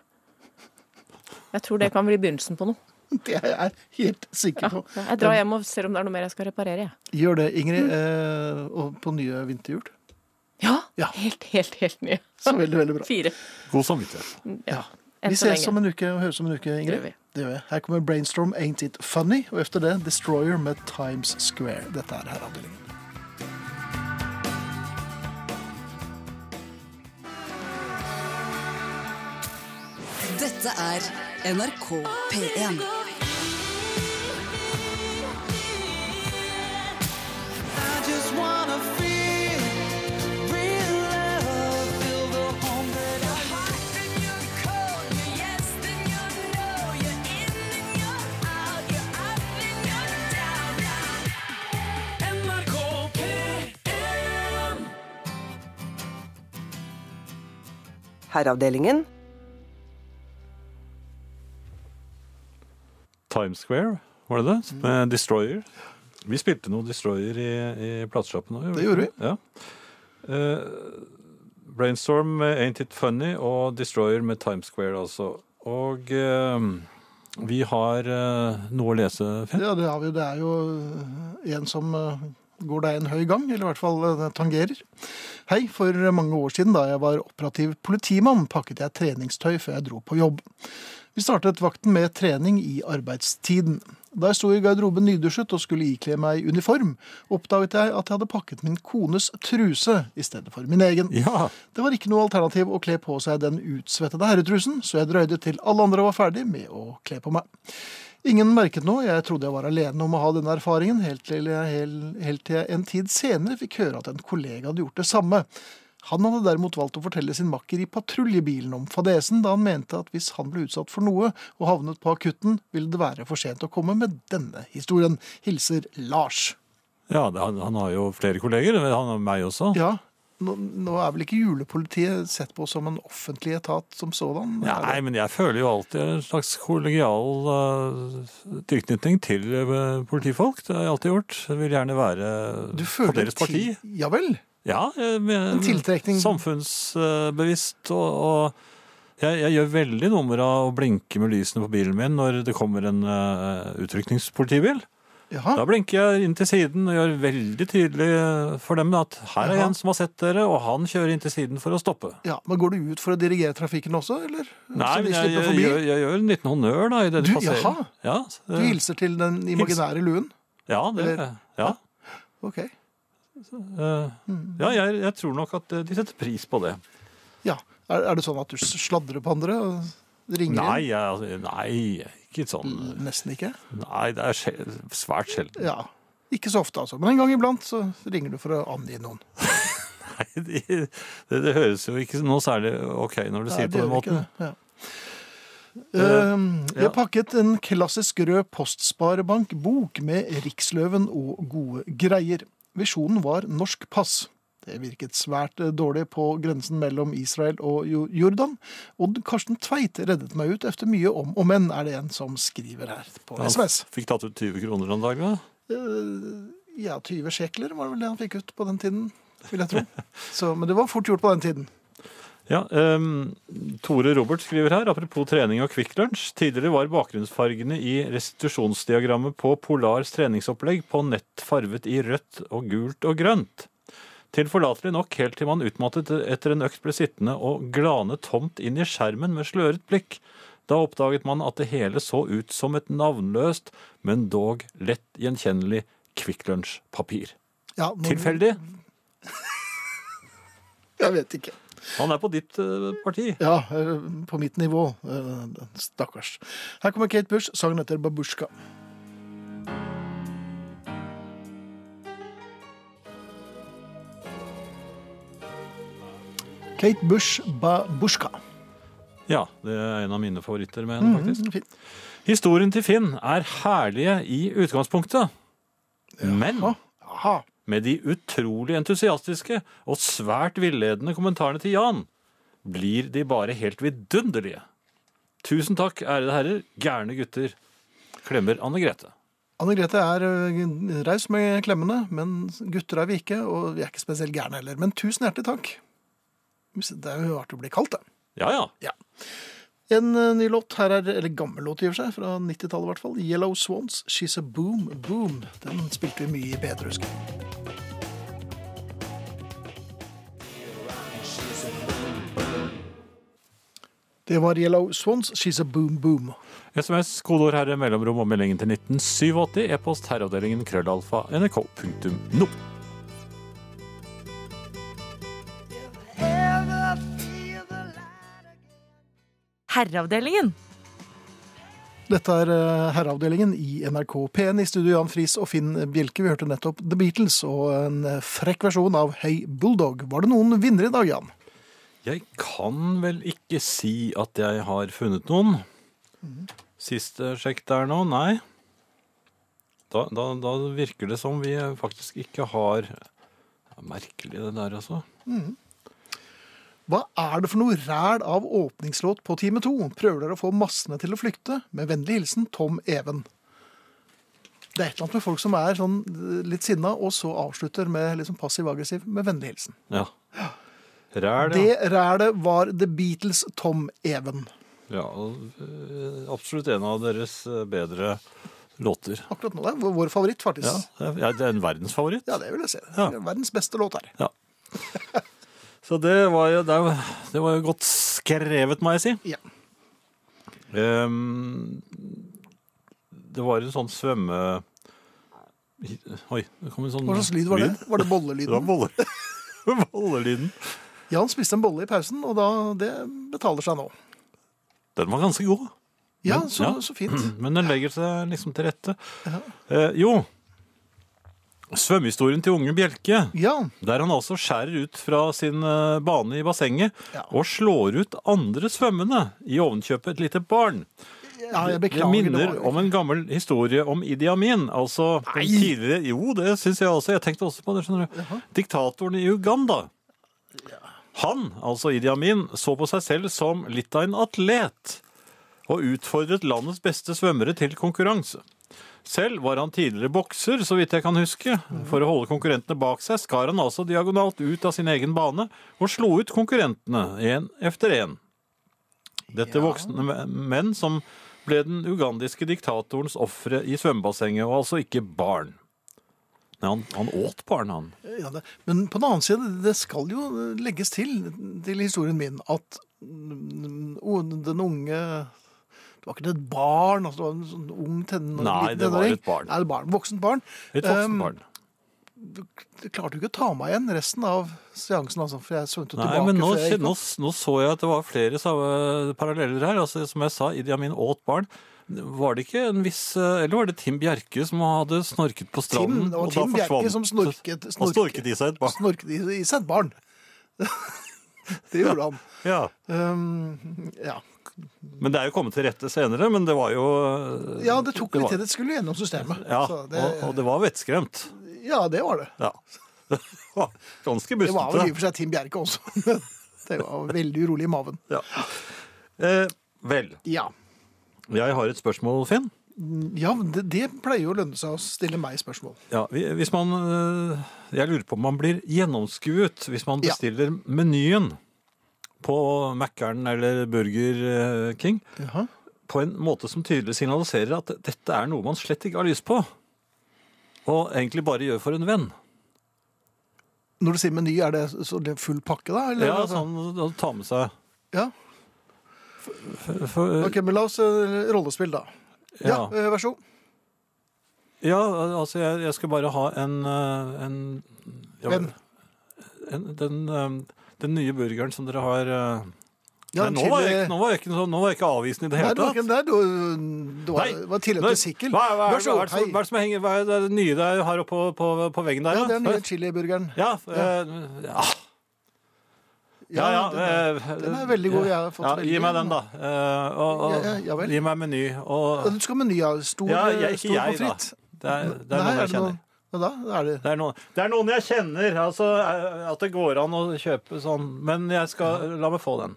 Speaker 1: Jeg tror det kan bli begynnelsen på noe.
Speaker 2: Det er jeg helt sikker på.
Speaker 1: Jeg drar hjem og ser om det er noe mer jeg skal reparere. jeg.
Speaker 2: Gjør det, Ingrid. eh, Og på nye vinterhjul.
Speaker 1: Ja,
Speaker 2: Ja.
Speaker 1: Helt, helt, helt nye.
Speaker 2: Så veldig, veldig bra.
Speaker 1: Fire.
Speaker 3: God samvittighet.
Speaker 2: Ja.
Speaker 1: Enn
Speaker 2: Vi
Speaker 1: så
Speaker 2: ses
Speaker 1: lenge.
Speaker 2: om en uke og høres om en uke,
Speaker 1: Det gjør
Speaker 2: Ingrid.
Speaker 1: vi.
Speaker 2: Det gjør vi. Her kommer Brainstorm Ain't It Funny, og etter det Destroyer med Times Square. Dette er Herreavdelingen.
Speaker 6: Dette er NRK P1.
Speaker 7: Herreavdelingen.
Speaker 3: Times Square, var det det? Med Destroyer. Vi spilte noe Destroyer i, i platesjappen òg.
Speaker 2: Det gjorde
Speaker 3: Ja. Eh, Brainstorm med Ain't It Funny og Destroyer med Times Square, altså. Og eh, vi har eh, noe å lese, Finn.
Speaker 2: Ja, det, har vi. det er jo eh, en som eh, går deg en høy gang, eller i hvert fall eh, tangerer. Hei, for mange år siden da jeg var operativ politimann, pakket jeg treningstøy før jeg dro på jobb. Vi startet vakten med trening i arbeidstiden. Da jeg sto i garderoben nydusjet og skulle ikle meg uniform, oppdaget jeg at jeg hadde pakket min kones truse i stedet for min egen.
Speaker 3: Ja.
Speaker 2: Det var ikke noe alternativ å kle på seg den utsvettede herretrusen, så jeg drøyde til alle andre var ferdig med å kle på meg. Ingen merket noe, jeg trodde jeg var alene om å ha denne erfaringen, helt til jeg, hel- helt til jeg en tid senere fikk høre at en kollega hadde gjort det samme. Han hadde derimot valgt å fortelle sin makker i patruljebilen om fadesen, da han mente at hvis han ble utsatt for noe og havnet på akutten, ville det være for sent å komme med denne historien. Hilser Lars.
Speaker 3: Ja, det- han, han har jo flere kolleger. men Han har meg også.
Speaker 2: Ja, nå, nå er vel ikke julepolitiet sett på som en offentlig etat som sådan?
Speaker 3: Nei, men jeg føler jo alltid en slags kollegial eh, tilknytning til eh, politifolk. Det har jeg alltid gjort. Jeg vil gjerne være
Speaker 2: Du
Speaker 3: på
Speaker 2: føler
Speaker 3: deres parti.
Speaker 2: Til, ja vel.
Speaker 3: Ja, jeg, jeg,
Speaker 2: En tiltrekning.
Speaker 3: Samfunnsbevisst. Og, og jeg, jeg gjør veldig nummer av å blinke med lysene på bilen min når det kommer en uh, utrykningspolitibil. Da
Speaker 2: Jaha.
Speaker 3: blinker jeg inn til siden og gjør veldig tydelig for dem at her er
Speaker 2: Jaha.
Speaker 3: en som har sett dere, og han kjører inn til siden for å stoppe.
Speaker 2: Ja, men Går du ut for å dirigere trafikken også, eller?
Speaker 3: Nei,
Speaker 2: Så de
Speaker 3: men jeg,
Speaker 2: slipper
Speaker 3: jeg,
Speaker 2: forbi?
Speaker 3: gjør- jeg gjør en liten honnør da, i det de
Speaker 2: Du,
Speaker 3: passerer.
Speaker 2: jaha.
Speaker 3: Ja,
Speaker 2: Du hilser til den imaginære luen?
Speaker 3: ja, det gjør jeg. Ja,
Speaker 2: Ok.
Speaker 3: Eh, ja jeg, jeg tror nok at eh, de setter pris på det.
Speaker 2: Ja. Er, er det sånn at du sladrer på andre og ringer
Speaker 3: Nei,
Speaker 2: inn?
Speaker 3: jeg, altså, nei, ikke sånn
Speaker 2: Nesten ikke.
Speaker 3: Nei, det er sjel- svært sjelden.
Speaker 2: Ja. Ikke så ofte, altså. Men en gang iblant så ringer du for å angi noen.
Speaker 3: Nei, de- det, det høres jo ikke noe særlig OK når du sier
Speaker 2: Nei, det
Speaker 3: det på den
Speaker 2: gjør
Speaker 3: måten.
Speaker 2: ikke det. Ja.
Speaker 3: Eh,
Speaker 2: Ehm,
Speaker 3: ja.
Speaker 2: Jeg pakket en klassisk rød postsparebankbok med Riksløven og gode greier. Visjonen var norsk pass. Det virket svært eh, dårlig på grensen mellom Israel og Jo- Jordan. Odd Karsten Tveit reddet meg ut etter mye om og men, er det en som skriver her på
Speaker 3: Han
Speaker 2: SMS.
Speaker 3: fikk tatt ut 20 kroner om dagen. da.
Speaker 2: Eh, Ja, 20 sjekler var vel det han fikk ut på den tiden, vil jeg tro. Så, men det var fort gjort på den tiden.
Speaker 3: Ja, ehm, Tore Robert skriver her, apropos trening og Kvikk Lunsj. Tidligere var bakgrunnsfargene i restitusjonsdiagrammet på Polars treningsopplegg på nett farvet i rødt og gult og grønt. Tilforlatelig nok helt til man utmattet etter en økt ble sittende og glane tomt inn i skjermen med sløret blikk. Da oppdaget man at det hele så ut som et navnløst, men dog lett gjenkjennelig Kvikk Lunsj-papir.
Speaker 2: Ja, nå-
Speaker 3: Tilfeldig?
Speaker 2: Jeg vet ikke.
Speaker 3: Han er på ditt eh, parti.
Speaker 2: Ja, eh, på mitt nivå. Eh, Stakkars. Her kommer Kate Bush, sangen etter Babusjka. Kate Bush, Babusjka.
Speaker 3: Ja, det er en av mine favoritter med henne, faktisk.
Speaker 2: Mm, fint.
Speaker 3: Historien til Finn er herlige i utgangspunktet, men
Speaker 2: Aha.
Speaker 3: med de utrolig entusiastiske og svært villedende kommentarene til Jan, blir de bare helt vidunderlige. Tusen takk, ærede herrer, gærne gutter. Klemmer Anne Grete.
Speaker 2: Anne Grete er eh, raus med klemmene, men gutter er vi ikke, og vi er ikke spesielt gærne heller. Men tusen hjertelig takk. Det er jo artig å bli kalt, det.
Speaker 3: Ja, ja.
Speaker 2: En eh, ny låt her er, eller gammel låt i og for seg, fra 90-tallet i hvert fall. Yellow Swans, She's a Boom Boom. Den spilte vi mye i P3, husker jeg. Det var Yellow Swans, She's a Boom Boom.
Speaker 3: SMS, kodeord herre, mellomrom og meldingen til 1987, e-post herreavdelingen krøllalfa nrk.no.
Speaker 4: Herreavdelingen.
Speaker 2: Dette er eh, herreavdelingen i NRK P1 i studio Jan Friis og Finn Bjelke. Vi hørte nettopp The Beatles og en eh, frekk versjon av Hey Bulldog. Var det noen vinnere i dag, Jan?
Speaker 3: Jeg kan vel ikke si at jeg har funnet noen. Siste sjekk der nå, nei. Da, da, da virker det som vi faktisk ikke har det er Merkelig det der, altså.
Speaker 2: Hva er det for noe ræl av åpningslåt på time to? Prøver dere å få massene til å flykte? Med vennlig hilsen Tom Even. Det er et eller annet med folk som er sånn eh, litt sinna, og så avslutter med liksom passiv-aggressiv med vennlig hilsen.
Speaker 3: Ja. Ræl, ja.
Speaker 2: Det rælet var The Beatles' Tom Even.
Speaker 3: ja. og, øh, Absolutt en av deres øh, bedre låter.
Speaker 2: Akkurat nå. Det er vår favoritt, faktisk.
Speaker 3: Ja, det er- ja, det er en verdensfavoritt.
Speaker 2: Ja, det vil jeg si. Det
Speaker 3: Ja.
Speaker 2: er Verdens beste låt her.
Speaker 3: Ja. Så det var jo, det var- det var jo godt skrevet, må jeg si.
Speaker 2: Ja.
Speaker 3: Ehm, det var en sånn svømme... Oi, det kom en sånn
Speaker 2: Hva slags lyd var det? Var det
Speaker 3: Det var
Speaker 2: bollelyden?
Speaker 3: bolle. bollelyden.
Speaker 2: Jan spiste en bolle i pausen, og da, det betaler seg nå.
Speaker 3: Den var ganske god,
Speaker 2: Ja,
Speaker 3: Men-
Speaker 2: så,
Speaker 3: ja. Mm.
Speaker 2: så fint.
Speaker 3: men den legger seg liksom til rette. Eh, jo, svømmehistorien til unge Bjelke,
Speaker 2: Ja.
Speaker 3: der han altså skjærer ut fra sin eh, bane i bassenget
Speaker 2: Ja.
Speaker 3: og slår ut andre svømmende, i ovenkjøpet et lite barn.
Speaker 2: ja, jeg
Speaker 3: Det
Speaker 2: beklager.
Speaker 3: minner
Speaker 2: var-
Speaker 3: om en gammel historie om Idi Amin. Altså den tidligere Jo, det syns jeg også. Jeg tenkte også på det. skjønner du. Diktatoren i Uganda. Han, altså Idi Amin, så på seg selv som litt av en atlet. Og utfordret landets beste svømmere til konkurranse. Selv var han tidligere bokser, så vidt jeg kan huske. For å holde konkurrentene bak seg skar han altså diagonalt ut av sin egen bane og slo ut konkurrentene én efter én. Dette voksne menn som ble den ugandiske diktatorens ofre i svømmebassenget, og altså ikke barn. Nei, han, han åt barn, han.
Speaker 2: Ja, det, men på den annen side, det skal jo legges til, til historien min, at mm, o- den unge Det var ikke et barn, altså, det var en sånn ung tenåring.
Speaker 3: Nei, det var et barn.
Speaker 2: Nei, det var et voksent barn.
Speaker 3: Et
Speaker 2: Um,
Speaker 3: voksent barn.
Speaker 2: Jeg klarte jo ikke å ta meg igjen resten av seansen, altså, for jeg svømte
Speaker 3: Nei,
Speaker 2: tilbake.
Speaker 3: men nå,
Speaker 2: før jeg gikk
Speaker 3: kjen- nå, s- nå så jeg at det var flere sa- paralleller her. Altså, som jeg sa, Idi Amin åt barn. Var det ikke en viss eh, Eller var det Tim Bjerke som hadde snorket på
Speaker 2: Tim,
Speaker 3: stranden?
Speaker 2: det var Tim Bjerke som snorket,
Speaker 3: Han snorket i seg et barn.
Speaker 2: snorket i, i seg et barn. det gjorde han.
Speaker 3: Ja.
Speaker 2: Um, ja.
Speaker 3: Men det er jo kommet til rette senere, men det var jo eh,
Speaker 2: ja, det tok litt
Speaker 3: var-
Speaker 2: tid. Det skulle gjennom systemet.
Speaker 3: Ja,
Speaker 2: Så
Speaker 3: og,
Speaker 2: det,
Speaker 3: og det var vettskremt.
Speaker 2: ja, det var det.
Speaker 3: Ja. Ganske
Speaker 2: Det var vel i og
Speaker 3: bustete.
Speaker 2: for seg Tim Bjerke også. det var veldig urolig i maven.
Speaker 3: Ja. Eh, vel,
Speaker 2: Ja,
Speaker 3: jeg har et spørsmål, Finn.
Speaker 2: ja det, det pleier jo å lønne seg å stille meg spørsmål.
Speaker 3: Ja, vi- hvis man, eh, jeg lurer på om man blir gjennomskuet hvis man
Speaker 2: Ja.
Speaker 3: bestiller menyen på Mækkern eller Burger eh, King
Speaker 2: Jaha.
Speaker 3: på en måte som tydelig signaliserer at dette er noe man slett ikke har lyst på, og egentlig bare gjør for en venn.
Speaker 2: Når du sier meny, er det så det er full pakke, da? eller?
Speaker 3: Ja, sånn å ta med seg.
Speaker 2: Ja.
Speaker 3: For,
Speaker 2: Ok, men la oss eh, rollespill, da. Ja,
Speaker 3: ja.
Speaker 2: eh, vær så god.
Speaker 3: ja, altså jeg, jeg skal bare ha en, eh, en ja,
Speaker 2: Hvem?
Speaker 3: En, den, eh, den nye burgeren som dere har eh,
Speaker 2: Ja,
Speaker 3: Nei, nå var, jeg,
Speaker 2: chili-
Speaker 3: ikke- nå, var jeg ikke, sånn- nå var jeg ikke avvisende i det
Speaker 2: Nei,
Speaker 3: hele
Speaker 2: det var ikke
Speaker 3: tatt.
Speaker 2: den der. Du, du var,
Speaker 3: Nei.
Speaker 2: var tidligere
Speaker 3: Nei,
Speaker 2: til sikkel.
Speaker 3: Hva, hva,
Speaker 2: Vær så
Speaker 3: hva, er
Speaker 2: god.
Speaker 3: det som- hva
Speaker 2: Hei.
Speaker 3: er det som henger, hva er det nye der har oppe på, på, på veggen der?
Speaker 2: Ja, det er
Speaker 3: da?
Speaker 2: den nye chiliburgeren.
Speaker 3: Ja, eh, ja, ja, ja,
Speaker 2: den er-
Speaker 3: eh,
Speaker 2: den er veldig god, jeg har fått
Speaker 3: ja,
Speaker 2: veldig
Speaker 3: Gi meg den,
Speaker 2: den,
Speaker 3: da. Eh, og, og,
Speaker 2: Ja, ja, ja vel.
Speaker 3: gi meg meny. Og,
Speaker 2: Du eh, skal ha meny av stor,
Speaker 3: ja,
Speaker 2: stor
Speaker 3: jeg, ikke jeg, da.
Speaker 2: pommes frites.
Speaker 3: Det er, det
Speaker 2: Nei,
Speaker 3: er noen jeg kjenner.
Speaker 2: noen- Ja, da er det
Speaker 3: Det er, noen, det er noen jeg kjenner. Altså, eh, at det går an å kjøpe sånn. Men jeg skal La meg få den.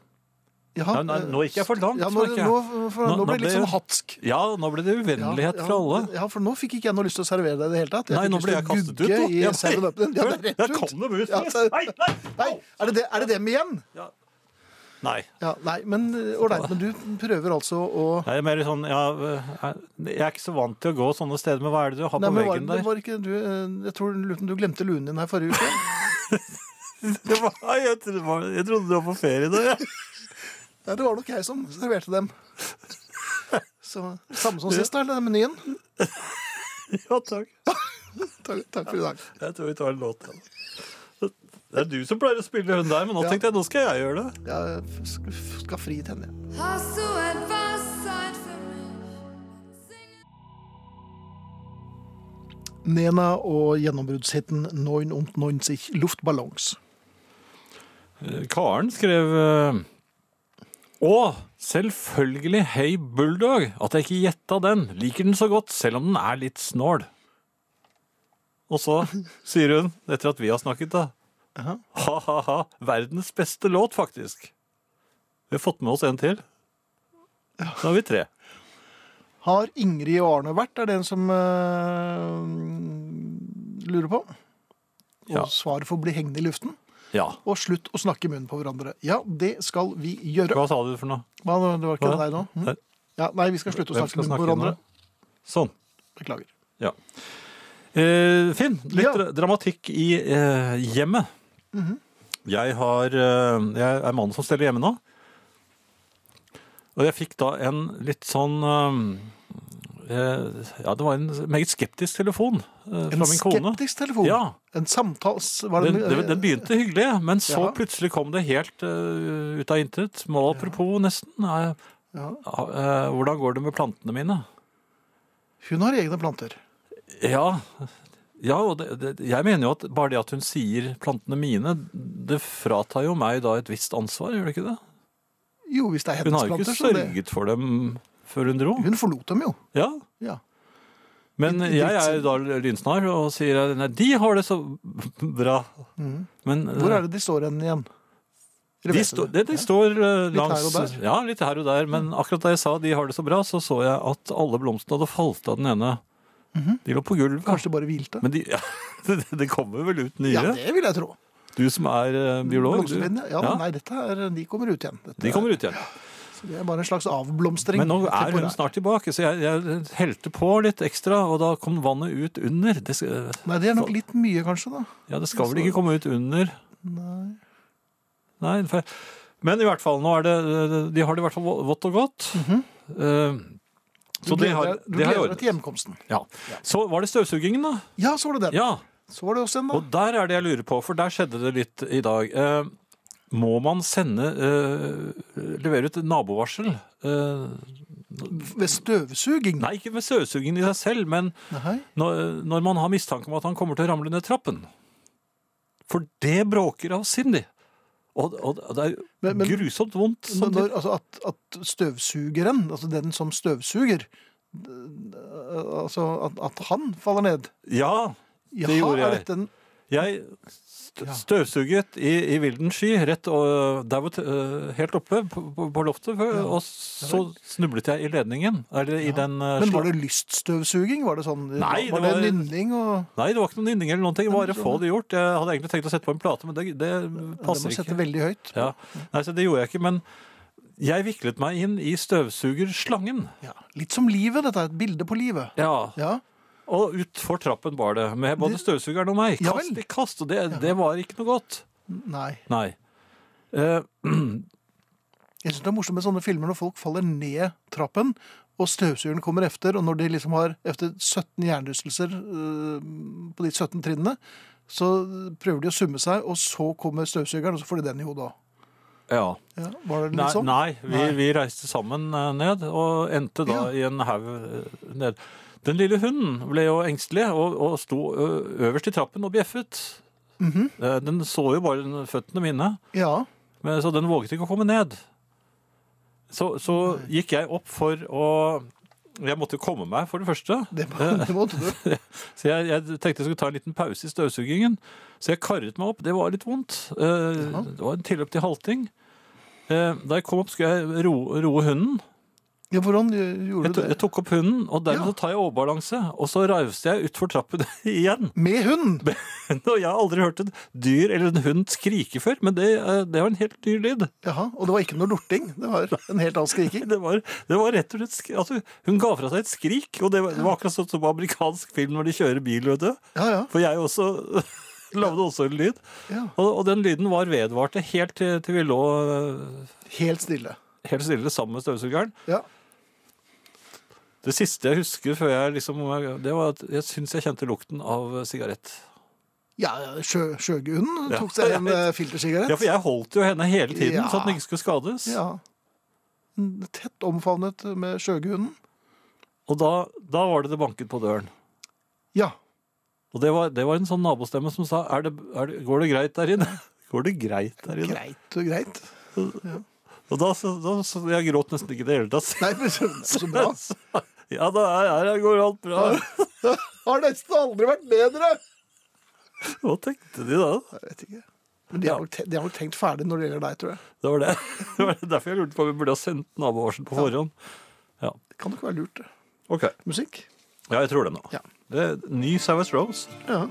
Speaker 2: Jaha,
Speaker 3: Nei, nei,
Speaker 2: eh,
Speaker 3: nå gikk jeg for langt,
Speaker 2: Ja, nå,
Speaker 3: merker jeg.
Speaker 2: nå, for, nå,
Speaker 3: Nå- nå
Speaker 2: ble det litt
Speaker 3: ble-
Speaker 2: sånn hatsk.
Speaker 3: Ja, nå ble det uvennlighet
Speaker 2: ja,
Speaker 3: fra alle.
Speaker 2: Ja, for nå fikk ikke jeg noe lyst til å servere deg i det hele tatt.
Speaker 3: Nei,
Speaker 2: fikk
Speaker 3: nå
Speaker 2: lyst til
Speaker 3: ble jeg
Speaker 2: å
Speaker 3: kastet ut.
Speaker 2: gugge i
Speaker 3: nå. Ja,
Speaker 2: 7-Eleven. Ja, det er
Speaker 3: Der
Speaker 2: rett ut.
Speaker 3: kom de ut!
Speaker 2: Ja, det-
Speaker 3: Nei, nei!
Speaker 2: Nei, er det, det, er det dem igjen?
Speaker 3: Nei.
Speaker 2: Ja, nei, men eh, ålreit. Men du prøver altså å
Speaker 3: Jeg er mer sånn ja, eh, Jeg er ikke så vant til å gå sånne steder, men hva er det du har på
Speaker 2: Nei, men var,
Speaker 3: veggen
Speaker 2: det
Speaker 3: der?
Speaker 2: var ikke du eh, Jeg tror Luten, du glemte luen din her forrige uke.
Speaker 3: Det var, jeg, trodde, det var- jeg trodde du var på ferie da. Ja.
Speaker 2: Nei, det var nok jeg som serverte dem. Så, samme som sist, da, eller den menyen?
Speaker 3: ja, takk.
Speaker 2: Takk, takk for i dag.
Speaker 3: Jeg tror vi tar en låt. Ja. Det er du som pleier å spille hun der, men nå
Speaker 2: Ja.
Speaker 3: tenkte jeg nå skal jeg gjøre det.
Speaker 2: Jeg skal, skal fri til henne. jeg. Nena og gjennombruddshiten 99 Luftballons.
Speaker 3: Eh, Karen skrev eh, Å, selvfølgelig Hey Bulldog. At jeg ikke gjetta den. Liker den så godt, selv om den er litt snål. Og så sier hun, etter at vi har snakket, da Ha-ha-ha. Verdens beste låt, faktisk. Vi har fått med oss en til. Da er vi tre.
Speaker 2: Har Ingrid og Arne vært, er det en som eh, lurer på. Og
Speaker 3: Ja.
Speaker 2: svaret får bli hengende i luften.
Speaker 3: Ja.
Speaker 2: Og slutt å snakke i munnen på hverandre. Ja, det skal vi gjøre.
Speaker 3: Hva sa du for noe?
Speaker 2: Hva, det var ikke
Speaker 3: Hva?
Speaker 2: deg nå? Hm?
Speaker 3: Nei.
Speaker 2: Ja, nei, vi skal slutte å
Speaker 3: Hvem
Speaker 2: snakke i munnen
Speaker 3: skal
Speaker 2: på
Speaker 3: snakke nå?
Speaker 2: hverandre.
Speaker 3: Sånn.
Speaker 2: Beklager.
Speaker 3: Ja. Eh, Finn, litt
Speaker 2: Ja. Mhm.
Speaker 3: dra- dramatikk i eh, hjemmet. Jeg har eh, Jeg er mannen som steller hjemme nå. Og jeg fikk da en litt sånn eh, eh, Ja, det var en meget skeptisk telefon eh, fra
Speaker 2: En
Speaker 3: min kone.
Speaker 2: skeptisk telefon.
Speaker 3: Ja.
Speaker 2: En samtals... Var
Speaker 3: Den,
Speaker 2: det, eh,
Speaker 3: den, den begynte hyggelig, men så
Speaker 2: Ja.
Speaker 3: plutselig kom det helt eh, ut av intet. Må apropos, nesten. Eh,
Speaker 2: Ja.
Speaker 3: eh, hvordan går det med plantene mine?
Speaker 2: Hun har egne planter.
Speaker 3: Ja, ja og det, det, jeg mener jo at bare det at hun sier plantene mine, det fratar jo meg da et visst ansvar, gjør det ikke det?
Speaker 2: Jo, hvis det er
Speaker 3: Hun
Speaker 2: hennes
Speaker 3: har jo ikke
Speaker 2: planter. så det-
Speaker 3: sørget for dem før hun dro.
Speaker 2: Hun forlot dem jo.
Speaker 3: Ja,
Speaker 2: Ja.
Speaker 3: men jeg er jo da lynsnar og sier nei, de har det så bra. Men
Speaker 2: Mhm.
Speaker 3: eh,
Speaker 2: Hvor er det de står hen igjen? Dere
Speaker 3: de,
Speaker 2: vet
Speaker 3: står-
Speaker 2: det.
Speaker 3: det, de står eh,
Speaker 2: Litt
Speaker 3: langs
Speaker 2: her og der. Mhm.
Speaker 3: Ja, litt her og der. Men akkurat da jeg sa de har det så bra, så så jeg at alle blomstene hadde falt av den ene. De lå på
Speaker 2: Mhm.
Speaker 3: gulvet.
Speaker 2: Kanskje de bare hvilte?
Speaker 3: Men de, ja, det, det kommer vel ut nye?
Speaker 2: Ja, det vil jeg tro.
Speaker 3: Du som er eh, biolog. Du,
Speaker 2: Blomsterbind, ja. ja. Nei, dette er, de kommer ut igjen. Dette
Speaker 3: De kommer ut igjen.
Speaker 2: er, det er bare en slags avblomstring.
Speaker 3: Men nå er hun
Speaker 2: Temporær.
Speaker 3: snart tilbake, så jeg, jeg helte på litt ekstra, og da kom vannet ut under. Det, skal-
Speaker 2: Nei, det er nok litt altså. mye, kanskje, da.
Speaker 3: ja, det skal vel ikke komme ut under? Nei. for, men i hvert fall, nå er det, de har det i hvert fall vått og godt.
Speaker 2: Mhm.
Speaker 3: Eh,
Speaker 2: Du
Speaker 3: så de har,
Speaker 2: gleder deg- du
Speaker 3: de har
Speaker 2: gleder deg
Speaker 3: ordnet.
Speaker 2: til hjemkomsten.
Speaker 3: Ja. Så var det støvsugingen, da.
Speaker 2: Ja, så var det den.
Speaker 3: Ja,
Speaker 2: Så var det også en, da.
Speaker 3: Og der er det jeg lurer på, for der skjedde det litt i dag. Eh, må man sende eh, Levere ut nabovarsel? Eh,
Speaker 2: Ved støvsuging.
Speaker 3: nei, ikke ved støvsugingen i seg selv, men
Speaker 2: Nei.
Speaker 3: når, når man har mistanke om at han kommer til å ramle ned trappen. For det bråker av Cindy. Og, og det er jo
Speaker 2: Men- men-
Speaker 3: grusomt vondt.
Speaker 2: Men
Speaker 3: samtidig.
Speaker 2: når, altså at, at støvsugeren, altså den som støvsuger d- Altså at, at han faller ned.
Speaker 3: ja,
Speaker 2: Jaha,
Speaker 3: gjorde
Speaker 2: er
Speaker 3: jeg.
Speaker 2: dette en
Speaker 3: jeg st støvsuget i, i vilden sky rett og, der hvor, t- eh, helt oppe på, på, på loftet, før, og så snublet jeg i ledningen. Eller i den eh,
Speaker 2: Men
Speaker 3: sla-
Speaker 2: var det lyststøvsuging? Var det sånn
Speaker 3: Nei, det
Speaker 2: Var det
Speaker 3: var-
Speaker 2: nynning og
Speaker 3: Nei, det var ikke noen nynning eller noen ting. Bare få det gjort. Jeg hadde egentlig tenkt å sette på en plate, men det, det
Speaker 2: Det
Speaker 3: passer
Speaker 2: må sette
Speaker 3: ikke.
Speaker 2: veldig høyt.
Speaker 3: Ja. Nei, så det gjorde jeg ikke, men jeg viklet meg inn i støvsugerslangen.
Speaker 2: Litt som livet, dette er et bilde på livet.
Speaker 3: Ja.
Speaker 2: Ja.
Speaker 3: Og utfor trappen bar det, med både støvsugeren og meg.
Speaker 2: Ja
Speaker 3: Kast
Speaker 2: vel.
Speaker 3: i kast, og det, det var ikke noe godt.
Speaker 2: Nei.
Speaker 3: Nei. Eh,
Speaker 2: Jeg synes det er morsomt med sånne filmer når folk faller ned trappen, og støvsugeren kommer efter, og når de liksom har efter 17 hjernerystelser øh, på de 17 trinnene, så prøver de å summe seg, og så kommer støvsugeren, og så får de den i hodet òg.
Speaker 3: ja.
Speaker 2: Ja, var det
Speaker 3: Nei,
Speaker 2: litt sånn?
Speaker 3: nei, vi,
Speaker 2: Nei.
Speaker 3: vi reiste sammen eh, ned og endte da
Speaker 2: Ja.
Speaker 3: i en haug eh, ned. Den lille hunden ble jo engstelig og, og sto ø, øverst i trappen og bjeffet.
Speaker 2: Mhm.
Speaker 3: Eh, Den så jo bare den- føttene mine,
Speaker 2: Ja.
Speaker 3: men, så den våget ikke å komme ned. Så, så gikk jeg opp for å Jeg måtte komme meg, for det første.
Speaker 2: Det, må- det måtte du.
Speaker 3: Så jeg, jeg tenkte jeg skulle ta en liten pause i støvsugingen. Så jeg karret meg opp. Det var litt vondt. Eh,
Speaker 2: Ja.
Speaker 3: Det var en tilløp til halting. Eh, Da jeg kom opp, skulle jeg ro- roe hunden.
Speaker 2: Ja, hvordan gjorde
Speaker 3: Jeg,
Speaker 2: du
Speaker 3: to,
Speaker 2: det?
Speaker 3: jeg tok opp hunden, og dermed
Speaker 2: Ja.
Speaker 3: så tar jeg overbalanse. Og så rauste jeg utfor trappen igjen.
Speaker 2: Med hund!
Speaker 3: Og jeg har aldri hørt et dyr eller en hund skrike før, men det, eh, det var en helt ny lyd.
Speaker 2: Jaha, og det var ikke noe lorting. Det var en helt annen skriking.
Speaker 3: Det var, det var rett og slett sk- altså, Hun ga fra seg et skrik, og det var, det var akkurat sånn som på amerikansk film når de kjører bil, vet du.
Speaker 2: Ja, ja.
Speaker 3: For jeg også lagde også en lyd.
Speaker 2: Ja.
Speaker 3: Og, og den lyden var vedvarte helt til, til vi lå eh,
Speaker 2: Helt stille.
Speaker 3: helt stille sammen med støvsugeren.
Speaker 2: Ja.
Speaker 3: Det siste jeg husker før jeg liksom Det var at jeg syns jeg kjente lukten av sigarett.
Speaker 2: Ja, sjø, Sjøgunden
Speaker 3: Ja.
Speaker 2: tok seg en eh, filtersigarett.
Speaker 3: Ja, for jeg holdt jo henne hele tiden,
Speaker 2: Ja.
Speaker 3: så at den ikke skulle skades.
Speaker 2: Ja. Tett omfavnet med sjøgunden.
Speaker 3: Og da, da var det det banket på døren.
Speaker 2: Ja.
Speaker 3: Og det var, det var en sånn nabostemme som sa er det, er det, 'Går det greit der inne?' Går det greit der inne?
Speaker 2: Greit og greit.
Speaker 3: Og da, så, da så, Jeg gråt nesten ikke i det hele tatt.
Speaker 2: Nei, men så, så bra.
Speaker 3: Ja, da er jeg her, går alt bra.
Speaker 2: Har nesten aldri vært bedre!
Speaker 3: Hva tenkte de da?
Speaker 2: Jeg vet ikke. Men de har, nok te- de har nok tenkt ferdig når det gjelder deg, tror jeg.
Speaker 3: Det var det. det var derfor jeg lurte på om vi burde ha sendt nabovarsel på forhånd. Ja,
Speaker 2: Det kan nok være lurt. det.
Speaker 3: ok.
Speaker 2: Musikk.
Speaker 3: Ja, jeg tror det nå.
Speaker 2: Ja.
Speaker 3: Det er ny Savage Rose.
Speaker 2: Ja.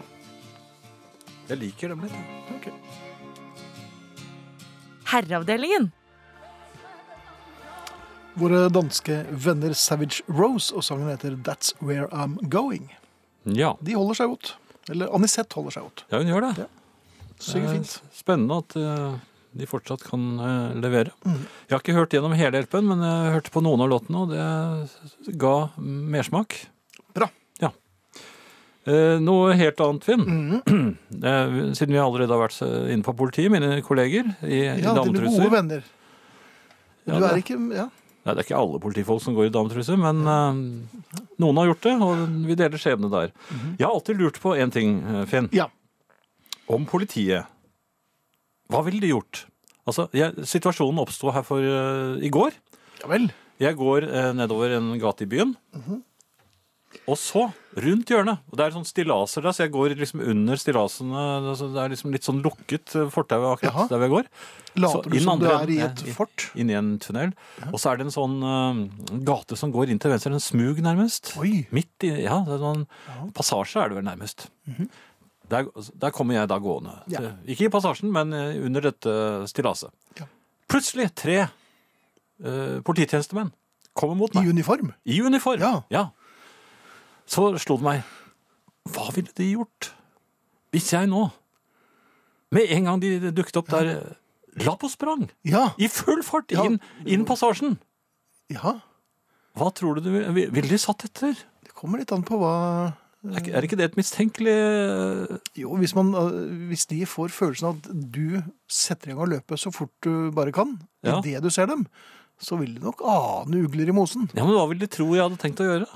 Speaker 3: Jeg liker dem litt. jeg.
Speaker 2: ok.
Speaker 4: Herreavdelingen.
Speaker 2: Våre danske venner Savage Rose, og sangen heter That's Where I'm Going.
Speaker 3: Ja,
Speaker 2: De holder seg godt. Eller Anisette holder seg godt.
Speaker 3: ja hun gjør det.
Speaker 2: Synger
Speaker 3: Det er
Speaker 2: fint.
Speaker 3: Spennende at eh, de fortsatt kan eh, levere. Jeg har ikke hørt gjennom hele LP-en, men jeg hørte på noen av låtene, og det ga mersmak.
Speaker 2: Bra.
Speaker 3: Ja. Eh, noe helt annet, Finn.
Speaker 2: Mhm.
Speaker 3: Eh, siden vi allerede har vært så inne på politiet, mine kolleger i,
Speaker 2: Ja,
Speaker 3: i
Speaker 2: dine gode
Speaker 3: dametruser.
Speaker 2: venner. Du
Speaker 3: Ja,
Speaker 2: er
Speaker 3: det-
Speaker 2: ikke Ja.
Speaker 3: Nei, det er ikke alle politifolk som går i dametruser, men eh, noen har gjort det, og vi deler skjebne der.
Speaker 2: Mhm.
Speaker 3: Jeg har alltid lurt på én ting, eh, Finn.
Speaker 2: ja.
Speaker 3: om politiet. Hva ville de gjort? Altså, jeg, situasjonen oppstod her for eh, i går.
Speaker 2: Ja vel.
Speaker 3: Jeg går eh, nedover en gate i byen.
Speaker 2: Mhm.
Speaker 3: Og så, rundt hjørnet Og det er sånn stillaser der, så jeg går liksom under stillasene. Altså, det er liksom litt sånn lukket eh, fortau akkurat
Speaker 2: Jaha.
Speaker 3: der vi går. Så
Speaker 2: Later du
Speaker 3: inn
Speaker 2: som du
Speaker 3: andre
Speaker 2: er i
Speaker 3: enden-
Speaker 2: et
Speaker 3: eh, i-
Speaker 2: fort?
Speaker 3: Inn i en tunnel. Og så er det en sånn eh, gate som går inn til venstre, en smug nærmest.
Speaker 2: Oi.
Speaker 3: Midt i, ja, det er sånn passasje er det vel nærmest. der, der kommer jeg da gående.
Speaker 2: Mhm. Ja.
Speaker 3: Så, Ikke i passasjen, men eh, under dette stillaset.
Speaker 2: Ja.
Speaker 3: Plutselig tre eh, polititjenestemenn kommer mot
Speaker 2: I
Speaker 3: meg.
Speaker 2: uniform?
Speaker 3: I uniform.
Speaker 2: Ja.
Speaker 3: Så slo det meg. Hva ville de gjort hvis jeg nå, med en gang de dukket opp der, eh, la på sprang?
Speaker 2: Ja.
Speaker 3: I full fart
Speaker 2: Ja.
Speaker 3: inn, inn passasjen.
Speaker 2: ja.
Speaker 3: Hva tror du du vil- Ville de satt etter?
Speaker 2: Det kommer litt an på hva
Speaker 3: Er ikke- er ikke det et mistenkelig
Speaker 2: Jo, hvis, man, øh, hvis de får følelsen av at du setter i gang å løpe så fort du bare kan, i
Speaker 3: Ja.
Speaker 2: idet du ser dem, så vil de nok ane ugler i mosen.
Speaker 3: Ja, men Hva ville de tro jeg hadde tenkt å gjøre?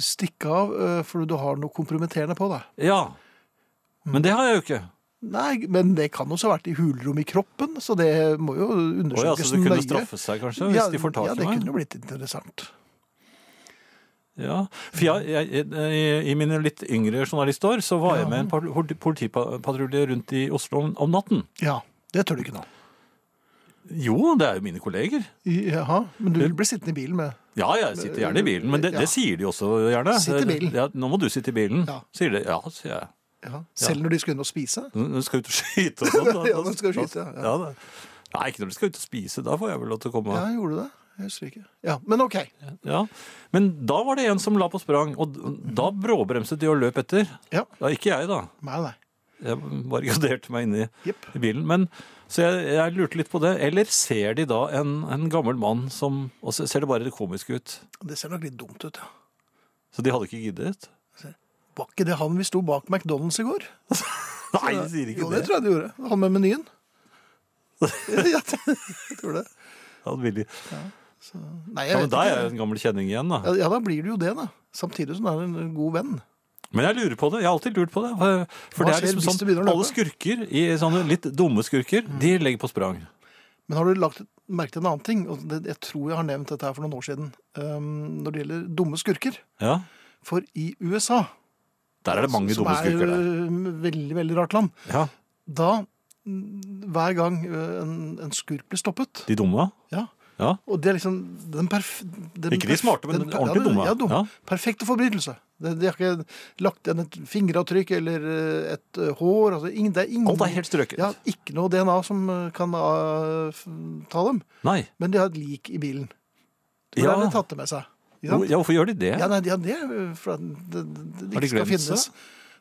Speaker 2: Stikke av øh, fordi du har noe kompromitterende på deg.
Speaker 3: Ja. Men det har jeg jo ikke.
Speaker 2: Nei, men det kan også ha vært i hulrom i kroppen, så det må jo
Speaker 3: Å, ja, så
Speaker 2: undersøkes
Speaker 3: det kunne straffe seg, kanskje, hvis de får tak
Speaker 2: ja,
Speaker 3: i
Speaker 2: det
Speaker 3: meg?
Speaker 2: kunne jo blitt interessant.
Speaker 3: Ja, for jeg, jeg, i- I mine litt yngre journalistår så var jeg med en par- politi- politipatrulje rundt i Oslo om, om natten.
Speaker 2: Ja, det tør du ikke nå.
Speaker 3: Jo, det er jo mine kolleger.
Speaker 2: Jaha, men du vil bli sittende i bilen med
Speaker 3: Ja, jeg sitter gjerne i bilen, men det,
Speaker 2: Ja.
Speaker 3: det sier de også gjerne.
Speaker 2: Sitt i bilen.
Speaker 3: Ja, nå må du sitte i bilen,
Speaker 2: Ja.
Speaker 3: sier de. Ja, sier jeg.
Speaker 2: ja. Selv når de skal inn og spise?
Speaker 3: Når du skal ut og skyte og sånn. da-
Speaker 2: Ja, når du skal skyte, ja.
Speaker 3: da- Nei, ikke når du skal ut og spise. Da får jeg vel lov til å komme.
Speaker 2: Ja, gjorde du det? Jeg husker ikke. Ja, men OK.
Speaker 3: Ja. Men da var det en som la på sprang, og d- da bråbremset de og løp etter.
Speaker 2: Ja.
Speaker 3: Ja, ikke jeg, da.
Speaker 2: Nei, nei.
Speaker 3: Jeg barrikaderte meg inni
Speaker 2: Jepp.
Speaker 3: i bilen. Men, så jeg, jeg lurte litt på det. Eller ser de da en, en gammel mann som Og så ser det bare komisk ut.
Speaker 2: Det ser nok litt dumt ut, ja.
Speaker 3: Så de hadde ikke giddet?
Speaker 2: Var ikke det han vi sto bak McDonald's i går?
Speaker 3: Nei, de sier ikke
Speaker 2: jo, det
Speaker 3: det.
Speaker 2: tror jeg de gjorde. Han med menyen. jeg tror det.
Speaker 3: Han ville-
Speaker 2: Nei, jeg
Speaker 3: Ja,
Speaker 2: vet
Speaker 3: men da er
Speaker 2: ikke.
Speaker 3: jeg en gammel kjenning igjen, da.
Speaker 2: Ja, da blir du jo det, da. Samtidig som du er en god venn.
Speaker 3: Men jeg lurer på det. Jeg har alltid lurt på det. For- For
Speaker 2: Hva
Speaker 3: det er
Speaker 2: skjer
Speaker 3: liksom
Speaker 2: hvis
Speaker 3: sånn,
Speaker 2: du begynner å løpe?
Speaker 3: alle skurker, i sånne litt dumme skurker, de legger på sprang.
Speaker 2: Men har du lagt merke til en annen ting? Og det, jeg tror jeg har nevnt dette her for noen år siden. Um, når det gjelder dumme skurker.
Speaker 3: Ja.
Speaker 2: For i USA,
Speaker 3: Der er det mange
Speaker 2: som
Speaker 3: dumme
Speaker 2: er øh,
Speaker 3: skurker der.
Speaker 2: um, veldig, veldig rart land,
Speaker 3: Ja,
Speaker 2: da mm, hver gang uh, en, en skurk blir stoppet
Speaker 3: De dumme?
Speaker 2: ja,
Speaker 3: Ja.
Speaker 2: Og det er liksom den perf... Den
Speaker 3: Ikke de
Speaker 2: perf-
Speaker 3: smarte, men de
Speaker 2: per-
Speaker 3: ordentlig
Speaker 2: ja, det-
Speaker 3: dumme.
Speaker 2: Ja, dumme.
Speaker 3: Ja.
Speaker 2: Perfekte forbrytelse. Det- De har ikke lagt igjen et fingeravtrykk eller eh, et eh, hår. Altså, ingen, det er ingen,
Speaker 3: Alt er helt strøket.
Speaker 2: ja, Ikke noe DNA som eh, kan ah, f- ta dem.
Speaker 3: Nei.
Speaker 2: Men de har et lik i bilen. For
Speaker 3: Ja.
Speaker 2: da har de tatt det med seg. Ikke sant?
Speaker 3: Ja, hvorfor gjør de det?
Speaker 2: Ja, nei, de har det, eh, for at det, det, det
Speaker 3: Har
Speaker 2: ikke
Speaker 3: de
Speaker 2: skal
Speaker 3: glemt seg?
Speaker 2: finnes.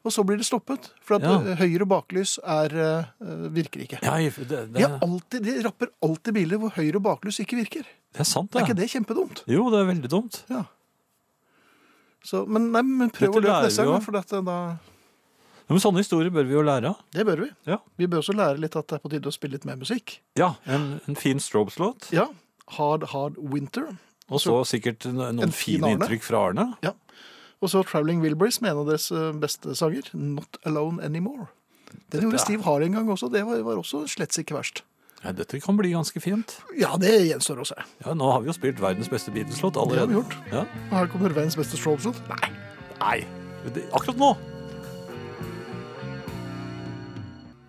Speaker 2: Og så blir det stoppet, for at
Speaker 3: Ja.
Speaker 2: eh, høyre baklys er, eh, virker ikke.
Speaker 3: Ja, det, det,
Speaker 2: De, har alltid, de rapper alltid biler hvor høyre baklys ikke virker.
Speaker 3: det er sant,
Speaker 2: Er
Speaker 3: det.
Speaker 2: ikke det kjempedumt?
Speaker 3: Jo, det er veldig dumt.
Speaker 2: Ja. Så, men, nei, men prøv
Speaker 3: Dette
Speaker 2: å løpe
Speaker 3: lærer
Speaker 2: neste
Speaker 3: vi
Speaker 2: gang,
Speaker 3: også.
Speaker 2: for dette, da,
Speaker 3: Men sånne historier bør vi jo lære av.
Speaker 2: det bør vi.
Speaker 3: Ja.
Speaker 2: Vi bør også lære litt at det er på tide å spille litt mer musikk.
Speaker 3: Ja, En, en fin Strobes-låt,
Speaker 2: Ja, Hard Hard Winter.
Speaker 3: og så sikkert no- noen
Speaker 2: en fin
Speaker 3: fine
Speaker 2: Arne.
Speaker 3: inntrykk fra Arne.
Speaker 2: Og så Traveling Wilburys med en av deres eh, beste sanger, Not Alone Anymore. Den
Speaker 3: er-
Speaker 2: gjorde Steve Hard en gang også, det var, var også slett ikke verst.
Speaker 3: Ja, dette kan bli ganske fint.
Speaker 2: Ja, det gjenstår å se.
Speaker 3: Ja, Nå har vi jo spilt verdens beste Beatles-låt
Speaker 2: Det har
Speaker 3: allerede.
Speaker 2: vi gjort.
Speaker 3: Ja.
Speaker 2: Og her kommer verdens beste strobes-låt. Nei,
Speaker 3: Nei, det, akkurat nå!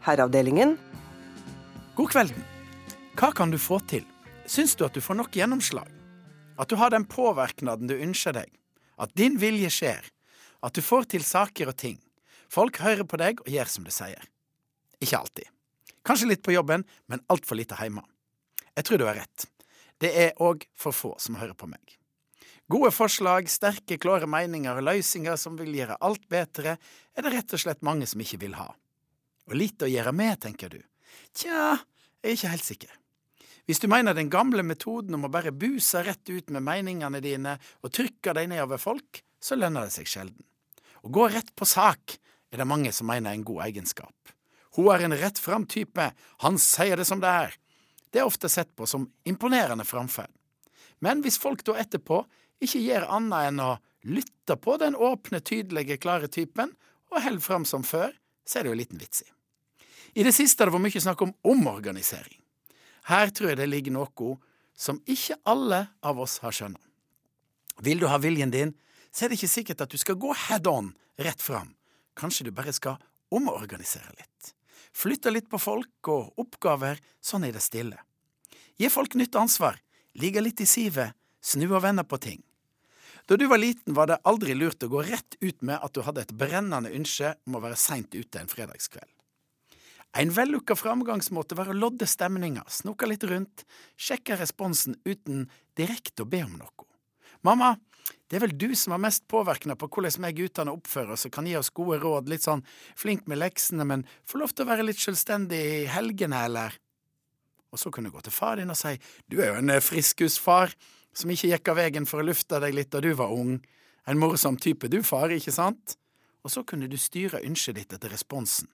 Speaker 7: Herreavdelingen.
Speaker 8: God kvelden. Hva kan du få til? Syns du at du får nok gjennomslag? At du har den påvirknaden du ønsker deg? At din vilje skjer? At du får til saker og ting? Folk hører på deg og gjør som du sier. Ikke alltid. Kanskje litt på jobben, men altfor lite hjemme. Jeg tror du har rett. Det er òg for få som hører på meg. Gode forslag, sterke, klare meninger og løsninger som vil gjøre alt bedre, er det rett og slett mange som ikke vil ha. Og lite å gjøre med, tenker du. Tja, jeg er ikke helt sikker. Hvis du mener den gamle metoden om å bare buse rett ut med meningene dine og trykke dem nedover folk, så lønner det seg sjelden. Å gå rett på sak er det mange som mener er en god egenskap. Hun er en rett fram-type, han sier det som det er. Det er ofte sett på som imponerende framferd. Men hvis folk da etterpå ikke gjør annet enn å lytte på den åpne, tydelige, klare typen og holder fram som før, så er det jo en liten vits i. I det siste har det vært mye snakk om omorganisering. Her tror jeg det ligger noe som ikke alle av oss har skjønt. Vil du ha viljen din, så er det ikke sikkert at du skal gå head on rett fram. Kanskje du bare skal omorganisere litt. Flytte litt på folk og oppgaver sånn i det stille. Gi folk nytt ansvar, ligge litt i sivet, snu og vende på ting. Da du var liten, var det aldri lurt å gå rett ut med at du hadde et brennende ønske om å være seint ute en fredagskveld. En vellukka framgangsmåte var å lodde stemninga, snoke litt rundt, sjekke responsen uten direkte å be om noe. Mamma, det er vel du som har mest påvirkning på hvordan vi guttene oppfører oss og kan gi oss gode råd, litt sånn flink med leksene, men få lov til å være litt selvstendig i helgene, eller? Og så kunne du gå til far din og si, du er jo en eh, friskusfar som ikke gikk av veien for å lufte deg litt da du var ung. En morsom type du, far, ikke sant? Og så kunne du styre ønsket ditt etter responsen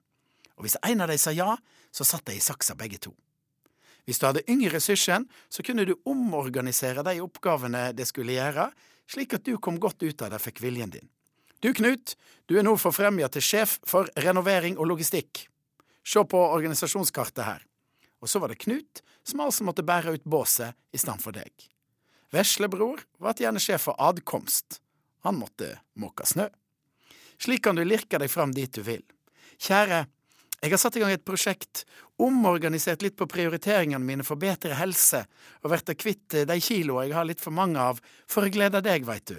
Speaker 8: og hvis en av dem sa ja, så satt de i saksa begge to. Hvis du hadde yngre søsken, så kunne du omorganisere de oppgavene det skulle gjøre, slik at du kom godt ut av det og fikk viljen din. Du, Knut, du er nå forfremja til sjef for renovering og logistikk. Se på organisasjonskartet her. Og så var det Knut som altså måtte bære ut båset i stedet for deg. Veslebror var gjerne sjef for adkomst. Han måtte måke snø. Slik kan du lirke deg fram dit du vil. Kjære, jeg har satt i gang et prosjekt, omorganisert litt på prioriteringene mine for bedre helse, og vært kvitt eh, de kiloene jeg har litt for mange av, for å glede deg, veit du.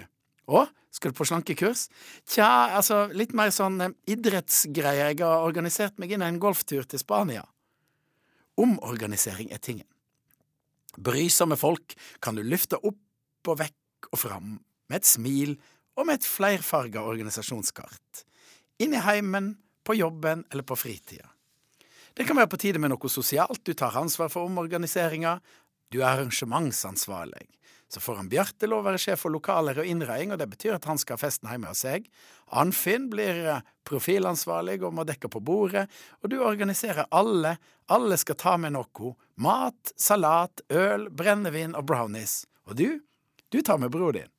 Speaker 8: Å, skal du på slankekurs? Tja, altså, litt mer sånn eh, idrettsgreier. Jeg har organisert meg inn i en golftur til Spania. Omorganisering er tingen. Brysomme folk kan du løfte opp og vekk og fram, med et smil og med et flerfarga organisasjonskart. Inn i heimen, på jobben eller på fritida. Det kan være på tide med noe sosialt, du tar ansvar for omorganiseringa, du er arrangementsansvarlig. Så får han Bjarte lov å være sjef for lokaler og innredning, og det betyr at han skal ha festen hjemme hos seg. Anfinn blir eh, profilansvarlig og må dekke på bordet, og du organiserer alle, alle skal ta med noe. Mat, salat, øl, brennevin og brownies. Og du, du tar med bror din.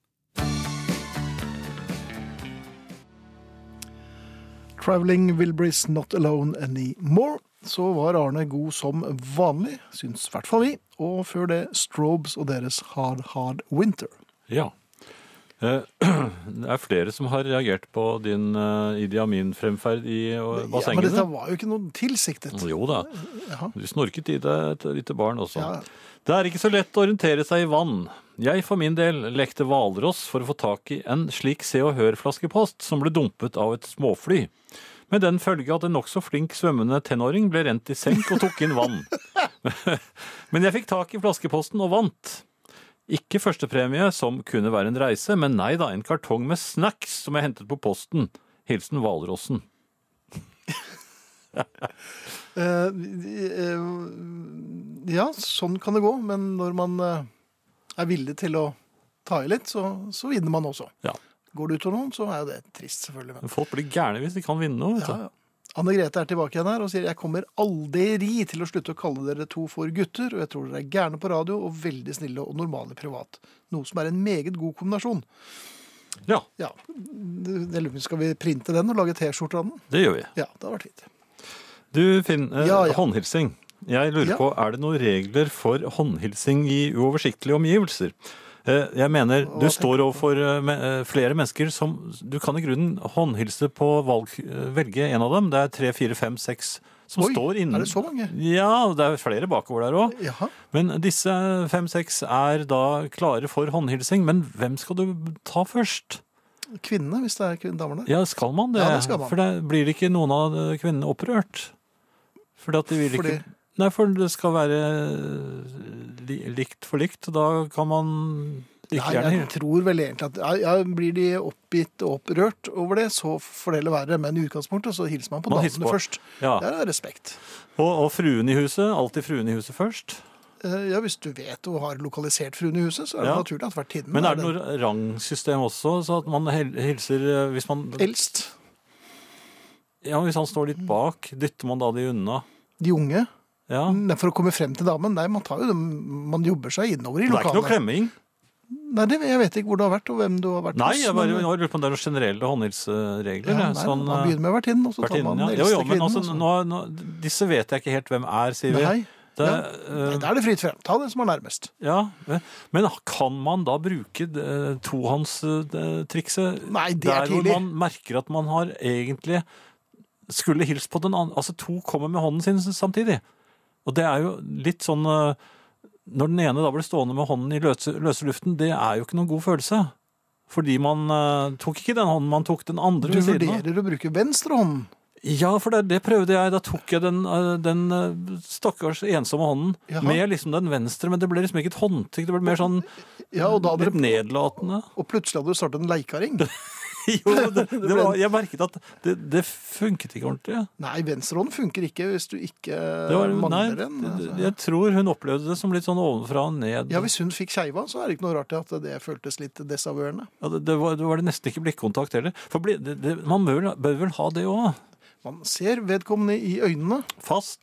Speaker 2: Traveling Wilburys Not Alone Anymore. Så var Arne god som vanlig, syns i hvert fall vi. Og før det Strobes og deres Hard Hard Winter.
Speaker 3: Ja. Eh, Det er flere som har reagert på din eh, Idi Amin-fremferd i eh,
Speaker 2: Ja, men
Speaker 3: bassengene.
Speaker 2: dette var jo ikke noe tilsiktet.
Speaker 3: Jo da.
Speaker 2: Jaha.
Speaker 3: Du snorket i deg et lite barn også.
Speaker 2: Ja.
Speaker 3: Det er ikke så lett å orientere seg i vann. Jeg for min del lekte hvalross for å få tak i en slik Se og Hør-flaskepost som ble dumpet av et småfly. Med den følge at en nokså flink svømmende tenåring ble rent i senk og tok inn vann. Men jeg fikk tak i flaskeposten og vant. Ikke førstepremie, som kunne være en reise, men nei da, en kartong med snacks som jeg hentet på posten. Hilsen hvalrossen.
Speaker 2: Eh, eh, ja, sånn kan det gå. Men når man eh, er villig til å ta i litt, så, så vinner man også.
Speaker 3: Ja.
Speaker 2: Går det utover noen, så er jo det trist, selvfølgelig. Men.
Speaker 3: Folk blir gærne hvis de kan vinne noe, vet du.
Speaker 2: Ja, ja. Anne Grete er tilbake igjen her og sier jeg kommer aldri til å slutte å kalle dere to for gutter, og jeg tror dere er gærne på radio og veldig snille og normale privat. Noe som er en meget god kombinasjon.
Speaker 3: Ja,
Speaker 2: Ja, jeg lurer på, Skal vi printe den og lage T-skjorter av den?
Speaker 3: det gjør vi.
Speaker 2: Ja, det hadde vært fint.
Speaker 3: Du, Finn, eh,
Speaker 2: Ja, ja.
Speaker 3: håndhilsing. Jeg lurer
Speaker 2: Ja.
Speaker 3: på, er det noen regler for håndhilsing i uoversiktlige omgivelser? Eh, Jeg mener, du
Speaker 2: tenker
Speaker 3: står overfor eh, me- eh, flere mennesker som Du kan i grunnen håndhilse på valg, eh, velge en av dem. Det er tre, fire, fem, seks som
Speaker 2: Oi,
Speaker 3: står innen
Speaker 2: er det så mange?
Speaker 3: Ja, det er flere bakover der òg.
Speaker 2: Jaha.
Speaker 3: Men disse fem-seks er da klare for håndhilsing. Men hvem skal du ta først?
Speaker 2: Kvinnene, hvis det er kvin- damene.
Speaker 3: Ja, skal man det?
Speaker 2: Ja, det skal man.
Speaker 3: For da blir det ikke noen av eh, kvinnene opprørt. Fordi at de vil ikke
Speaker 2: Fordi
Speaker 3: Nei, for det skal være eh, li likt for likt, og da kan man ikke
Speaker 2: Nei,
Speaker 3: gjerne
Speaker 2: jeg tror vel egentlig at ja, ja, Blir de oppgitt og opprørt over det, så får det heller være. Men i utgangspunktet så hilser man på
Speaker 3: Man hilser
Speaker 2: damene
Speaker 3: på.
Speaker 2: først.
Speaker 3: Ja.
Speaker 2: Det er respekt.
Speaker 3: Og, og fruen i huset. Alltid fruen i huset først.
Speaker 2: Eh, Ja, Hvis du vet og har lokalisert fruen i huset, så er det
Speaker 3: Ja.
Speaker 2: naturlig at hvert tidende
Speaker 3: Men er det noe rangsystem også, så at man hel- hilser eh, hvis man
Speaker 2: Eldst.
Speaker 3: Ja, hvis han
Speaker 2: Mm.
Speaker 3: står litt bak, dytter man da de unna?
Speaker 2: De unge.
Speaker 3: Ja.
Speaker 2: Nei, For å komme frem til damen. Nei, man tar jo dem Man jobber seg innover i
Speaker 3: Det er ikke noe
Speaker 2: lokalet.
Speaker 3: klemming?
Speaker 2: Nei, det, jeg vet ikke hvor du har vært, og hvem du har vært
Speaker 3: Nei, jeg
Speaker 2: hos,
Speaker 3: bare
Speaker 2: men-
Speaker 3: jeg lurer på om det er noen generelle håndhilseregler.
Speaker 2: ja,
Speaker 3: jeg.
Speaker 2: nei,
Speaker 3: sånn,
Speaker 2: Man
Speaker 3: eh,
Speaker 2: begynner med vertinnen, og så tar
Speaker 3: Vertinnen,
Speaker 2: man
Speaker 3: ja.
Speaker 2: den
Speaker 3: Jo,
Speaker 2: eldste
Speaker 3: jo, men
Speaker 2: kvinnen.
Speaker 3: altså,
Speaker 2: og så-
Speaker 3: nå, nå, disse vet jeg ikke helt hvem er, sier vi.
Speaker 2: Nei,
Speaker 3: Det,
Speaker 2: ja.
Speaker 3: eh,
Speaker 2: nei, da er det fritt frem. Ta den som er nærmest.
Speaker 3: ja. Men kan man da bruke eh, tohåndstrikset
Speaker 2: Nei, det er
Speaker 3: der hvor
Speaker 2: tidlig.
Speaker 3: man merker at man har egentlig skulle hilst på den andre? Altså to kommer med hånden sin samtidig. Og det er jo litt sånn eh, Når den ene da blir stående med hånden i løse, løse luften, det er jo ikke noen god følelse. Fordi man eh, tok ikke den hånden, man tok den andre
Speaker 2: Du
Speaker 3: ved siden av.
Speaker 2: vurderer å bruke venstre hånd.
Speaker 3: Ja, for det, det prøvde jeg. Da tok jeg den, eh, den eh, stakkars ensomme hånden
Speaker 2: Jaha.
Speaker 3: med liksom den venstre, men det ble liksom ikke et håndtrykk. Det ble mer sånn
Speaker 2: Ja, og, da hadde
Speaker 3: litt
Speaker 2: dere,
Speaker 3: nedlatende.
Speaker 2: og plutselig hadde du startet en leikaring.
Speaker 3: Jo, det, det var, jeg merket at det, det funket ikke ordentlig.
Speaker 2: Nei, venstre hånd funker ikke hvis du ikke
Speaker 3: Det var, nei,
Speaker 2: mangler en.
Speaker 3: det-
Speaker 2: Eh, Altså.
Speaker 3: det- jeg tror hun opplevde det som litt sånn ovenfra og ned.
Speaker 2: Ja,
Speaker 3: Ja,
Speaker 2: hvis hun fikk skeiva, så er det ikke noe rart at det føltes litt desavørende.
Speaker 3: det, det, var, det var det nesten ikke blikkontakt heller. For bli, det, det, man bør, vel- bør vel ha det òg.
Speaker 2: Man ser vedkommende i øynene.
Speaker 3: Fast.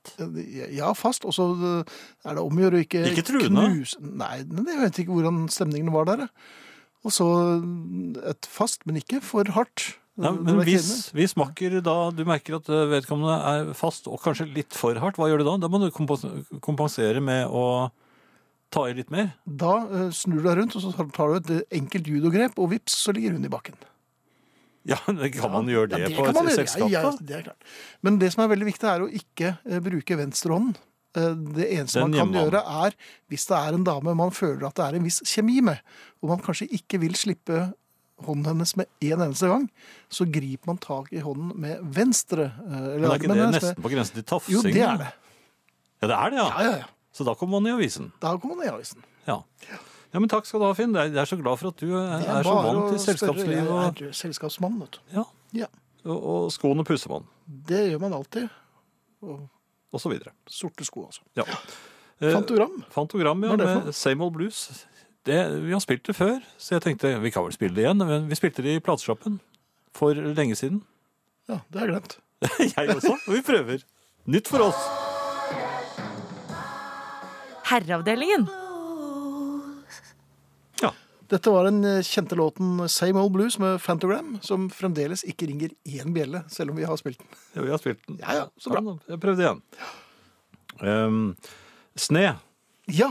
Speaker 2: Ja, fast. Og så eh, er det om å gjøre å ikke
Speaker 3: Ikke truende.
Speaker 2: knuse- Nei, men jeg vet ikke hvordan stemningen var der. jeg. Og så eh, et fast, men ikke for hardt.
Speaker 3: Nei,
Speaker 2: Det
Speaker 3: men
Speaker 2: var
Speaker 3: hvis, hvis makker da du merker at eh, vedkommende er fast og kanskje litt for hardt, hva gjør du da? Da må du kompos- kompensere med å ta i litt mer.
Speaker 2: kvinner. Da eh, snur du deg rundt, og så tar du et enkelt judogrep, og vips, så ligger hun i bakken.
Speaker 3: Ja, men kan man gjøre det,
Speaker 2: Ja, det
Speaker 3: på
Speaker 2: kan man
Speaker 3: et
Speaker 2: gjøre. Ja,
Speaker 3: selskap?
Speaker 2: ja,
Speaker 3: da?
Speaker 2: det er klart. Men det som er veldig viktig, er å ikke eh, bruke venstrehånden. Eh, Det eneste
Speaker 3: Den
Speaker 2: man kan
Speaker 3: hjemmehånden.
Speaker 2: gjøre, er hvis det er en dame man føler at det er en viss kjemi med, og man kanskje ikke vil slippe hånden hennes med en eneste gang, så griper man tak i hånden med venstre. eh, Eller
Speaker 3: Men er ikke
Speaker 2: armen
Speaker 3: det
Speaker 2: hennes med-
Speaker 3: nesten på grensen til tafsing?
Speaker 2: Jo, det
Speaker 3: da?
Speaker 2: er det.
Speaker 3: Ja, det er det, ja.
Speaker 2: Ja, ja, ja.
Speaker 3: Så da kom man i avisen.
Speaker 2: Da kom han i avisen.
Speaker 3: Ja. ja, men takk skal du ha, Finn. Jeg er så glad for at du er,
Speaker 2: Det
Speaker 3: er så
Speaker 2: bare
Speaker 3: vant
Speaker 2: å
Speaker 3: til selskapsliv.
Speaker 2: spørre.
Speaker 3: Og,
Speaker 2: Jeg er selskapsmann, vet du.
Speaker 3: ja,
Speaker 2: Ja,
Speaker 3: og, og skoene pusser man,
Speaker 2: det gjør man alltid.
Speaker 3: og så videre.
Speaker 2: Sorte sko, altså.
Speaker 3: Ja. Eh,
Speaker 2: Fantogram.
Speaker 3: Fantogram, ja,
Speaker 2: Hva er det for
Speaker 3: med Same Old Blues. Det, vi har spilt det før, så jeg tenkte vi kan vel spille det igjen. Men vi spilte det i platesjappen for lenge siden.
Speaker 2: Ja, det har jeg glemt.
Speaker 3: Jeg også, og vi prøver. Nytt for oss.
Speaker 4: Herreavdelingen.
Speaker 3: Ja.
Speaker 2: Dette var den eh, kjente låten Same Old Blues med Fantogram, som fremdeles ikke ringer én bjelle, selv om vi har spilt den.
Speaker 3: Ja, vi har spilt den.
Speaker 2: Ja, ja, så bra.
Speaker 3: da, Jeg prøvde igjen. Ehm, sne.
Speaker 2: Ja,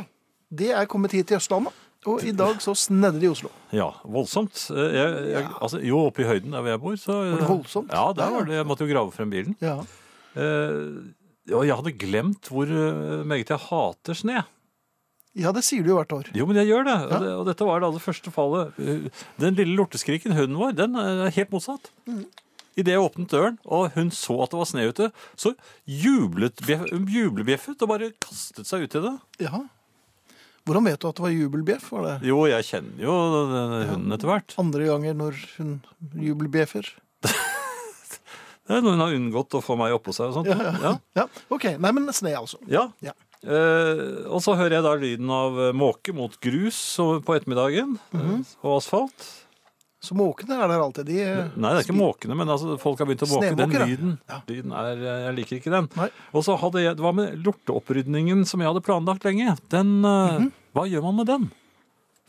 Speaker 2: det er kommet hit til Østlandet, og i dag så snedder det i Oslo.
Speaker 3: Ja, voldsomt. Eh, Jeg, jeg, altså, jo, oppe i høyden der hvor jeg bor, så
Speaker 2: Var det voldsomt?
Speaker 3: Ja, der
Speaker 2: Ja, ja.
Speaker 3: var det. Jeg måtte jo grave frem bilen.
Speaker 2: Ja,
Speaker 3: Eh, og jeg hadde glemt hvor eh, meget jeg hater sne.
Speaker 2: ja det sier du jo hvert år.
Speaker 3: Jo, men jeg gjør det. og
Speaker 2: Ja.
Speaker 3: det- Og dette var det aller første fallet. Eh, Den lille lorteskriken hunden vår, den eh, er helt motsatt. Idet jeg åpnet døren og hun så at det var sne ute, så jublet bjeff- hun jublebjeffet og bare kastet seg ut i det.
Speaker 2: Ja. Hvordan vet du at det var jubelbjeff? Var det
Speaker 3: Jo, jeg kjenner jo den- den hunden etter hvert.
Speaker 2: andre ganger når hun jubelbjeffer?
Speaker 3: Det er noe hun har unngått å få meg oppå seg og sånt. Ja, ja.
Speaker 2: Ja, ok. Nei, men sne, altså. Ja.
Speaker 3: Eh, og så hører jeg da lyden av eh, måke mot grus og- på ettermiddagen. eh, Og asfalt.
Speaker 2: Så måkene er der alltid. De, eh,
Speaker 3: Nei, det er ikke måkene, men altså, folk har begynt å måke. Den
Speaker 2: Snemåker, ja.
Speaker 3: lyden,
Speaker 2: Ja.
Speaker 3: lyden er, eh, jeg liker ikke den.
Speaker 2: Nei.
Speaker 3: Og så hadde jeg, det var med lorteopprydningen som jeg hadde planlagt lenge. Den, eh,
Speaker 2: Mhm.
Speaker 3: Hva gjør man med den?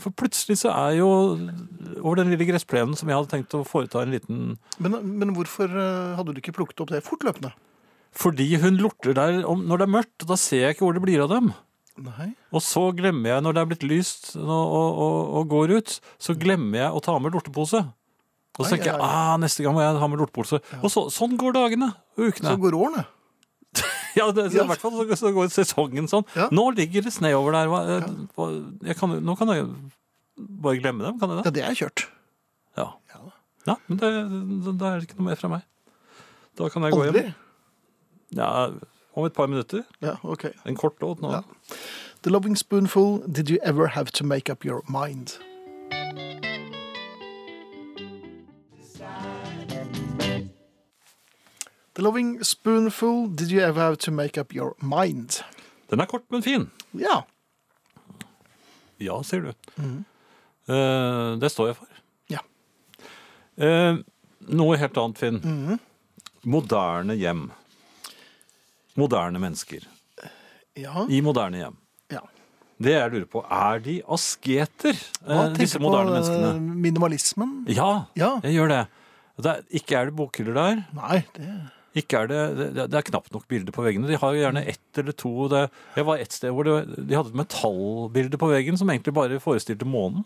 Speaker 3: For plutselig så er jo over den lille gressplenen som jeg hadde tenkt å foreta en liten
Speaker 2: men, men hvorfor eh, hadde du ikke plukket opp det fortløpende?
Speaker 3: Fordi hun lorter der om, når det er mørkt, og da ser jeg ikke hvor det blir av dem.
Speaker 2: Nei.
Speaker 3: Og så glemmer jeg, når det er blitt lyst og, og, og, og går ut, så glemmer jeg å ta med lortepose. Og så
Speaker 2: Ai,
Speaker 3: tenker jeg
Speaker 2: ai, ai.
Speaker 3: ah, neste gang må jeg ha med lortepose. Og så, sånn går dagene og ukene.
Speaker 2: Så Sånn går årene.
Speaker 3: Ja, det, så,
Speaker 2: Ja.
Speaker 3: i hvert fall så, så går sesongen sånn.
Speaker 2: Ja.
Speaker 3: Nå ligger det sne over der. Hva, eh, hva- jeg kan, nå kan jeg bare glemme dem, kan jeg det?
Speaker 2: Ja, det er kjørt.
Speaker 3: Ja.
Speaker 2: Ja.
Speaker 3: ja men det, da- da er det ikke noe mer fra meg. Da kan jeg gå
Speaker 2: Aldri.
Speaker 3: hjem. Ja, om et par minutter.
Speaker 2: Ja, ok.
Speaker 3: En kort låt nå.
Speaker 2: Ja. The Loving Spoonful, Did You Ever Have To Make Up Your Mind? The Loving Spoonful, Did You Ever Have To Make Up Your Mind?
Speaker 3: Den er kort, men fin.
Speaker 2: Ja,
Speaker 3: Ja, sier du.
Speaker 2: Mhm.
Speaker 3: Eh, det står jeg for.
Speaker 2: Ja.
Speaker 3: Eh, noe helt annet, Finn.
Speaker 2: Mhm.
Speaker 3: Moderne hjem. Moderne mennesker.
Speaker 2: ja,
Speaker 3: I moderne hjem.
Speaker 2: ja.
Speaker 3: Det jeg lurer på, er de asketer, eh, disse moderne menneskene?
Speaker 2: eh, minimalismen?
Speaker 3: Ja,
Speaker 2: eh? Ja.
Speaker 3: jeg gjør det. det er, ikke er det bokhyller der.
Speaker 2: Nei, det...
Speaker 3: Ikke er det, det, det er knapt nok bilder på veggene. De har jo gjerne ett eller to. Det, jeg var et sted hvor det, de hadde et metallbilde på veggen som egentlig bare forestilte månen.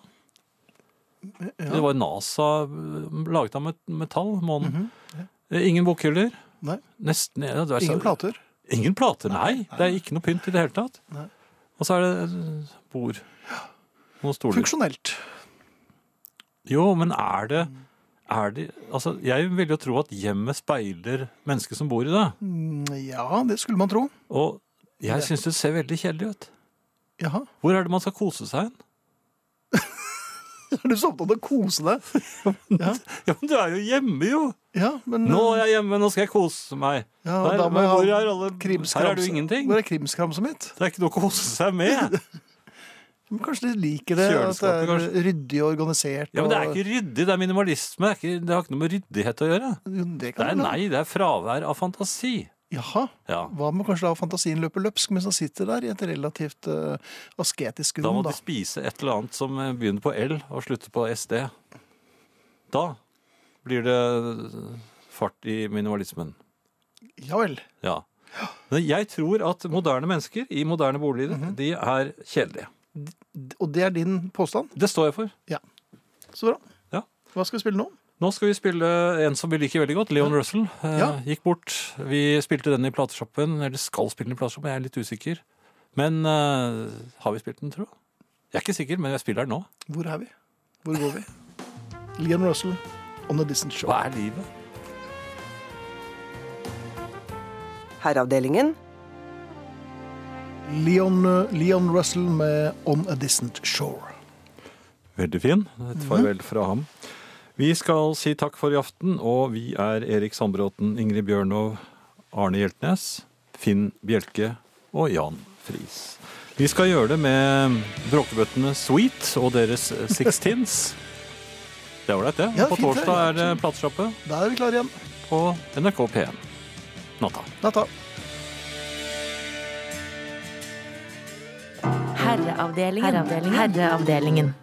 Speaker 3: Det var NASA eh, laget av met- metall, månen.
Speaker 2: Mhm.
Speaker 3: Eh, Ingen bokhyller.
Speaker 2: Nei.
Speaker 3: Nesten, ja, det er så-
Speaker 2: Ingen plater?
Speaker 3: Ingen plater, nei. Det er ikke noe pynt i det hele tatt.
Speaker 2: Nei.
Speaker 3: Og så er det eh, bord. Noen stoler.
Speaker 2: Funksjonelt.
Speaker 3: Jo, men er det, er det altså, Jeg vil jo tro at hjemmet speiler mennesket som bor i det.
Speaker 2: Ja, det skulle man tro.
Speaker 3: Og jeg syns det ser veldig kjedelig ut.
Speaker 2: Jaha.
Speaker 3: Hvor er det man skal kose seg hen?
Speaker 2: Er du så opptatt av å kose deg?
Speaker 3: Ja, men du er jo hjemme, jo!
Speaker 2: Ja, men...
Speaker 3: Nå er jeg hjemme, nå skal jeg kose meg.
Speaker 2: Ja, og
Speaker 3: Der,
Speaker 2: da må jeg ha
Speaker 3: hvor er alle
Speaker 2: krimskramse.
Speaker 3: Her er det jo ingenting.
Speaker 2: Hvor er krimskramset mitt?
Speaker 3: Det er ikke noe å kose seg med.
Speaker 2: Men kanskje de liker det? At det
Speaker 3: Kjøleskapet,
Speaker 2: er ryddig og organisert?
Speaker 3: Ja, men Det er ikke ryddig, det er minimalisme. Det, er ikke, det har ikke noe med ryddighet å gjøre.
Speaker 2: og... Jo, det
Speaker 3: Det
Speaker 2: kan du
Speaker 3: er,
Speaker 2: vel-
Speaker 3: nei, det er fravær av fantasi.
Speaker 2: Jaha.
Speaker 3: Ja.
Speaker 2: Hva med kanskje la fantasien løpe løpsk mens han sitter der i et relativt eh, asketisk
Speaker 3: Da må
Speaker 2: rom, da?
Speaker 3: de spise et eller annet som eh, begynner på L og slutter på SD. Da blir det eh, fart i minimalismen.
Speaker 2: Ja vel.
Speaker 3: Ja. Men jeg tror at moderne mennesker i moderne boliger,
Speaker 2: Mhm.
Speaker 3: de er kjedelige.
Speaker 2: Og det er din påstand?
Speaker 3: Det står jeg for.
Speaker 2: Så bra.
Speaker 3: Ja.
Speaker 2: Hva skal vi spille nå?
Speaker 3: Nå skal vi spille en som vi liker veldig godt, Leon Russell. eh,
Speaker 2: Ja.
Speaker 3: Gikk bort. Vi spilte den i plateshoppen, eller skal spille den i plateshoppen, jeg er litt usikker. Men eh, har vi spilt den, tro? Jeg er ikke sikker, men jeg spiller den nå.
Speaker 2: Hvor er vi? Hvor går vi? Leon Russell on the Distant Show.
Speaker 3: Hva er livet?
Speaker 7: Herreavdelingen.
Speaker 2: Leon, eh, Leon Russell med 'On a Distant Shore'.
Speaker 3: Veldig fin.
Speaker 2: Mhm.
Speaker 3: Et farvel fra ham. Vi skal si takk for i aften, og vi er Erik Sandbråten, Ingrid Bjørnov, Arne Hjeltnes, Finn Bjelke og Jan Friis. Vi skal gjøre det med bråkebøttene Sweet og deres Sixteens. Det er ålreit, det.
Speaker 2: Ja,
Speaker 3: På
Speaker 2: fint, det.
Speaker 3: torsdag er det platesjappe
Speaker 2: Da er vi klare igjen.
Speaker 3: på NRK P1. Natta.
Speaker 2: Natta.
Speaker 4: Herreavdelingen. Herreavdelingen.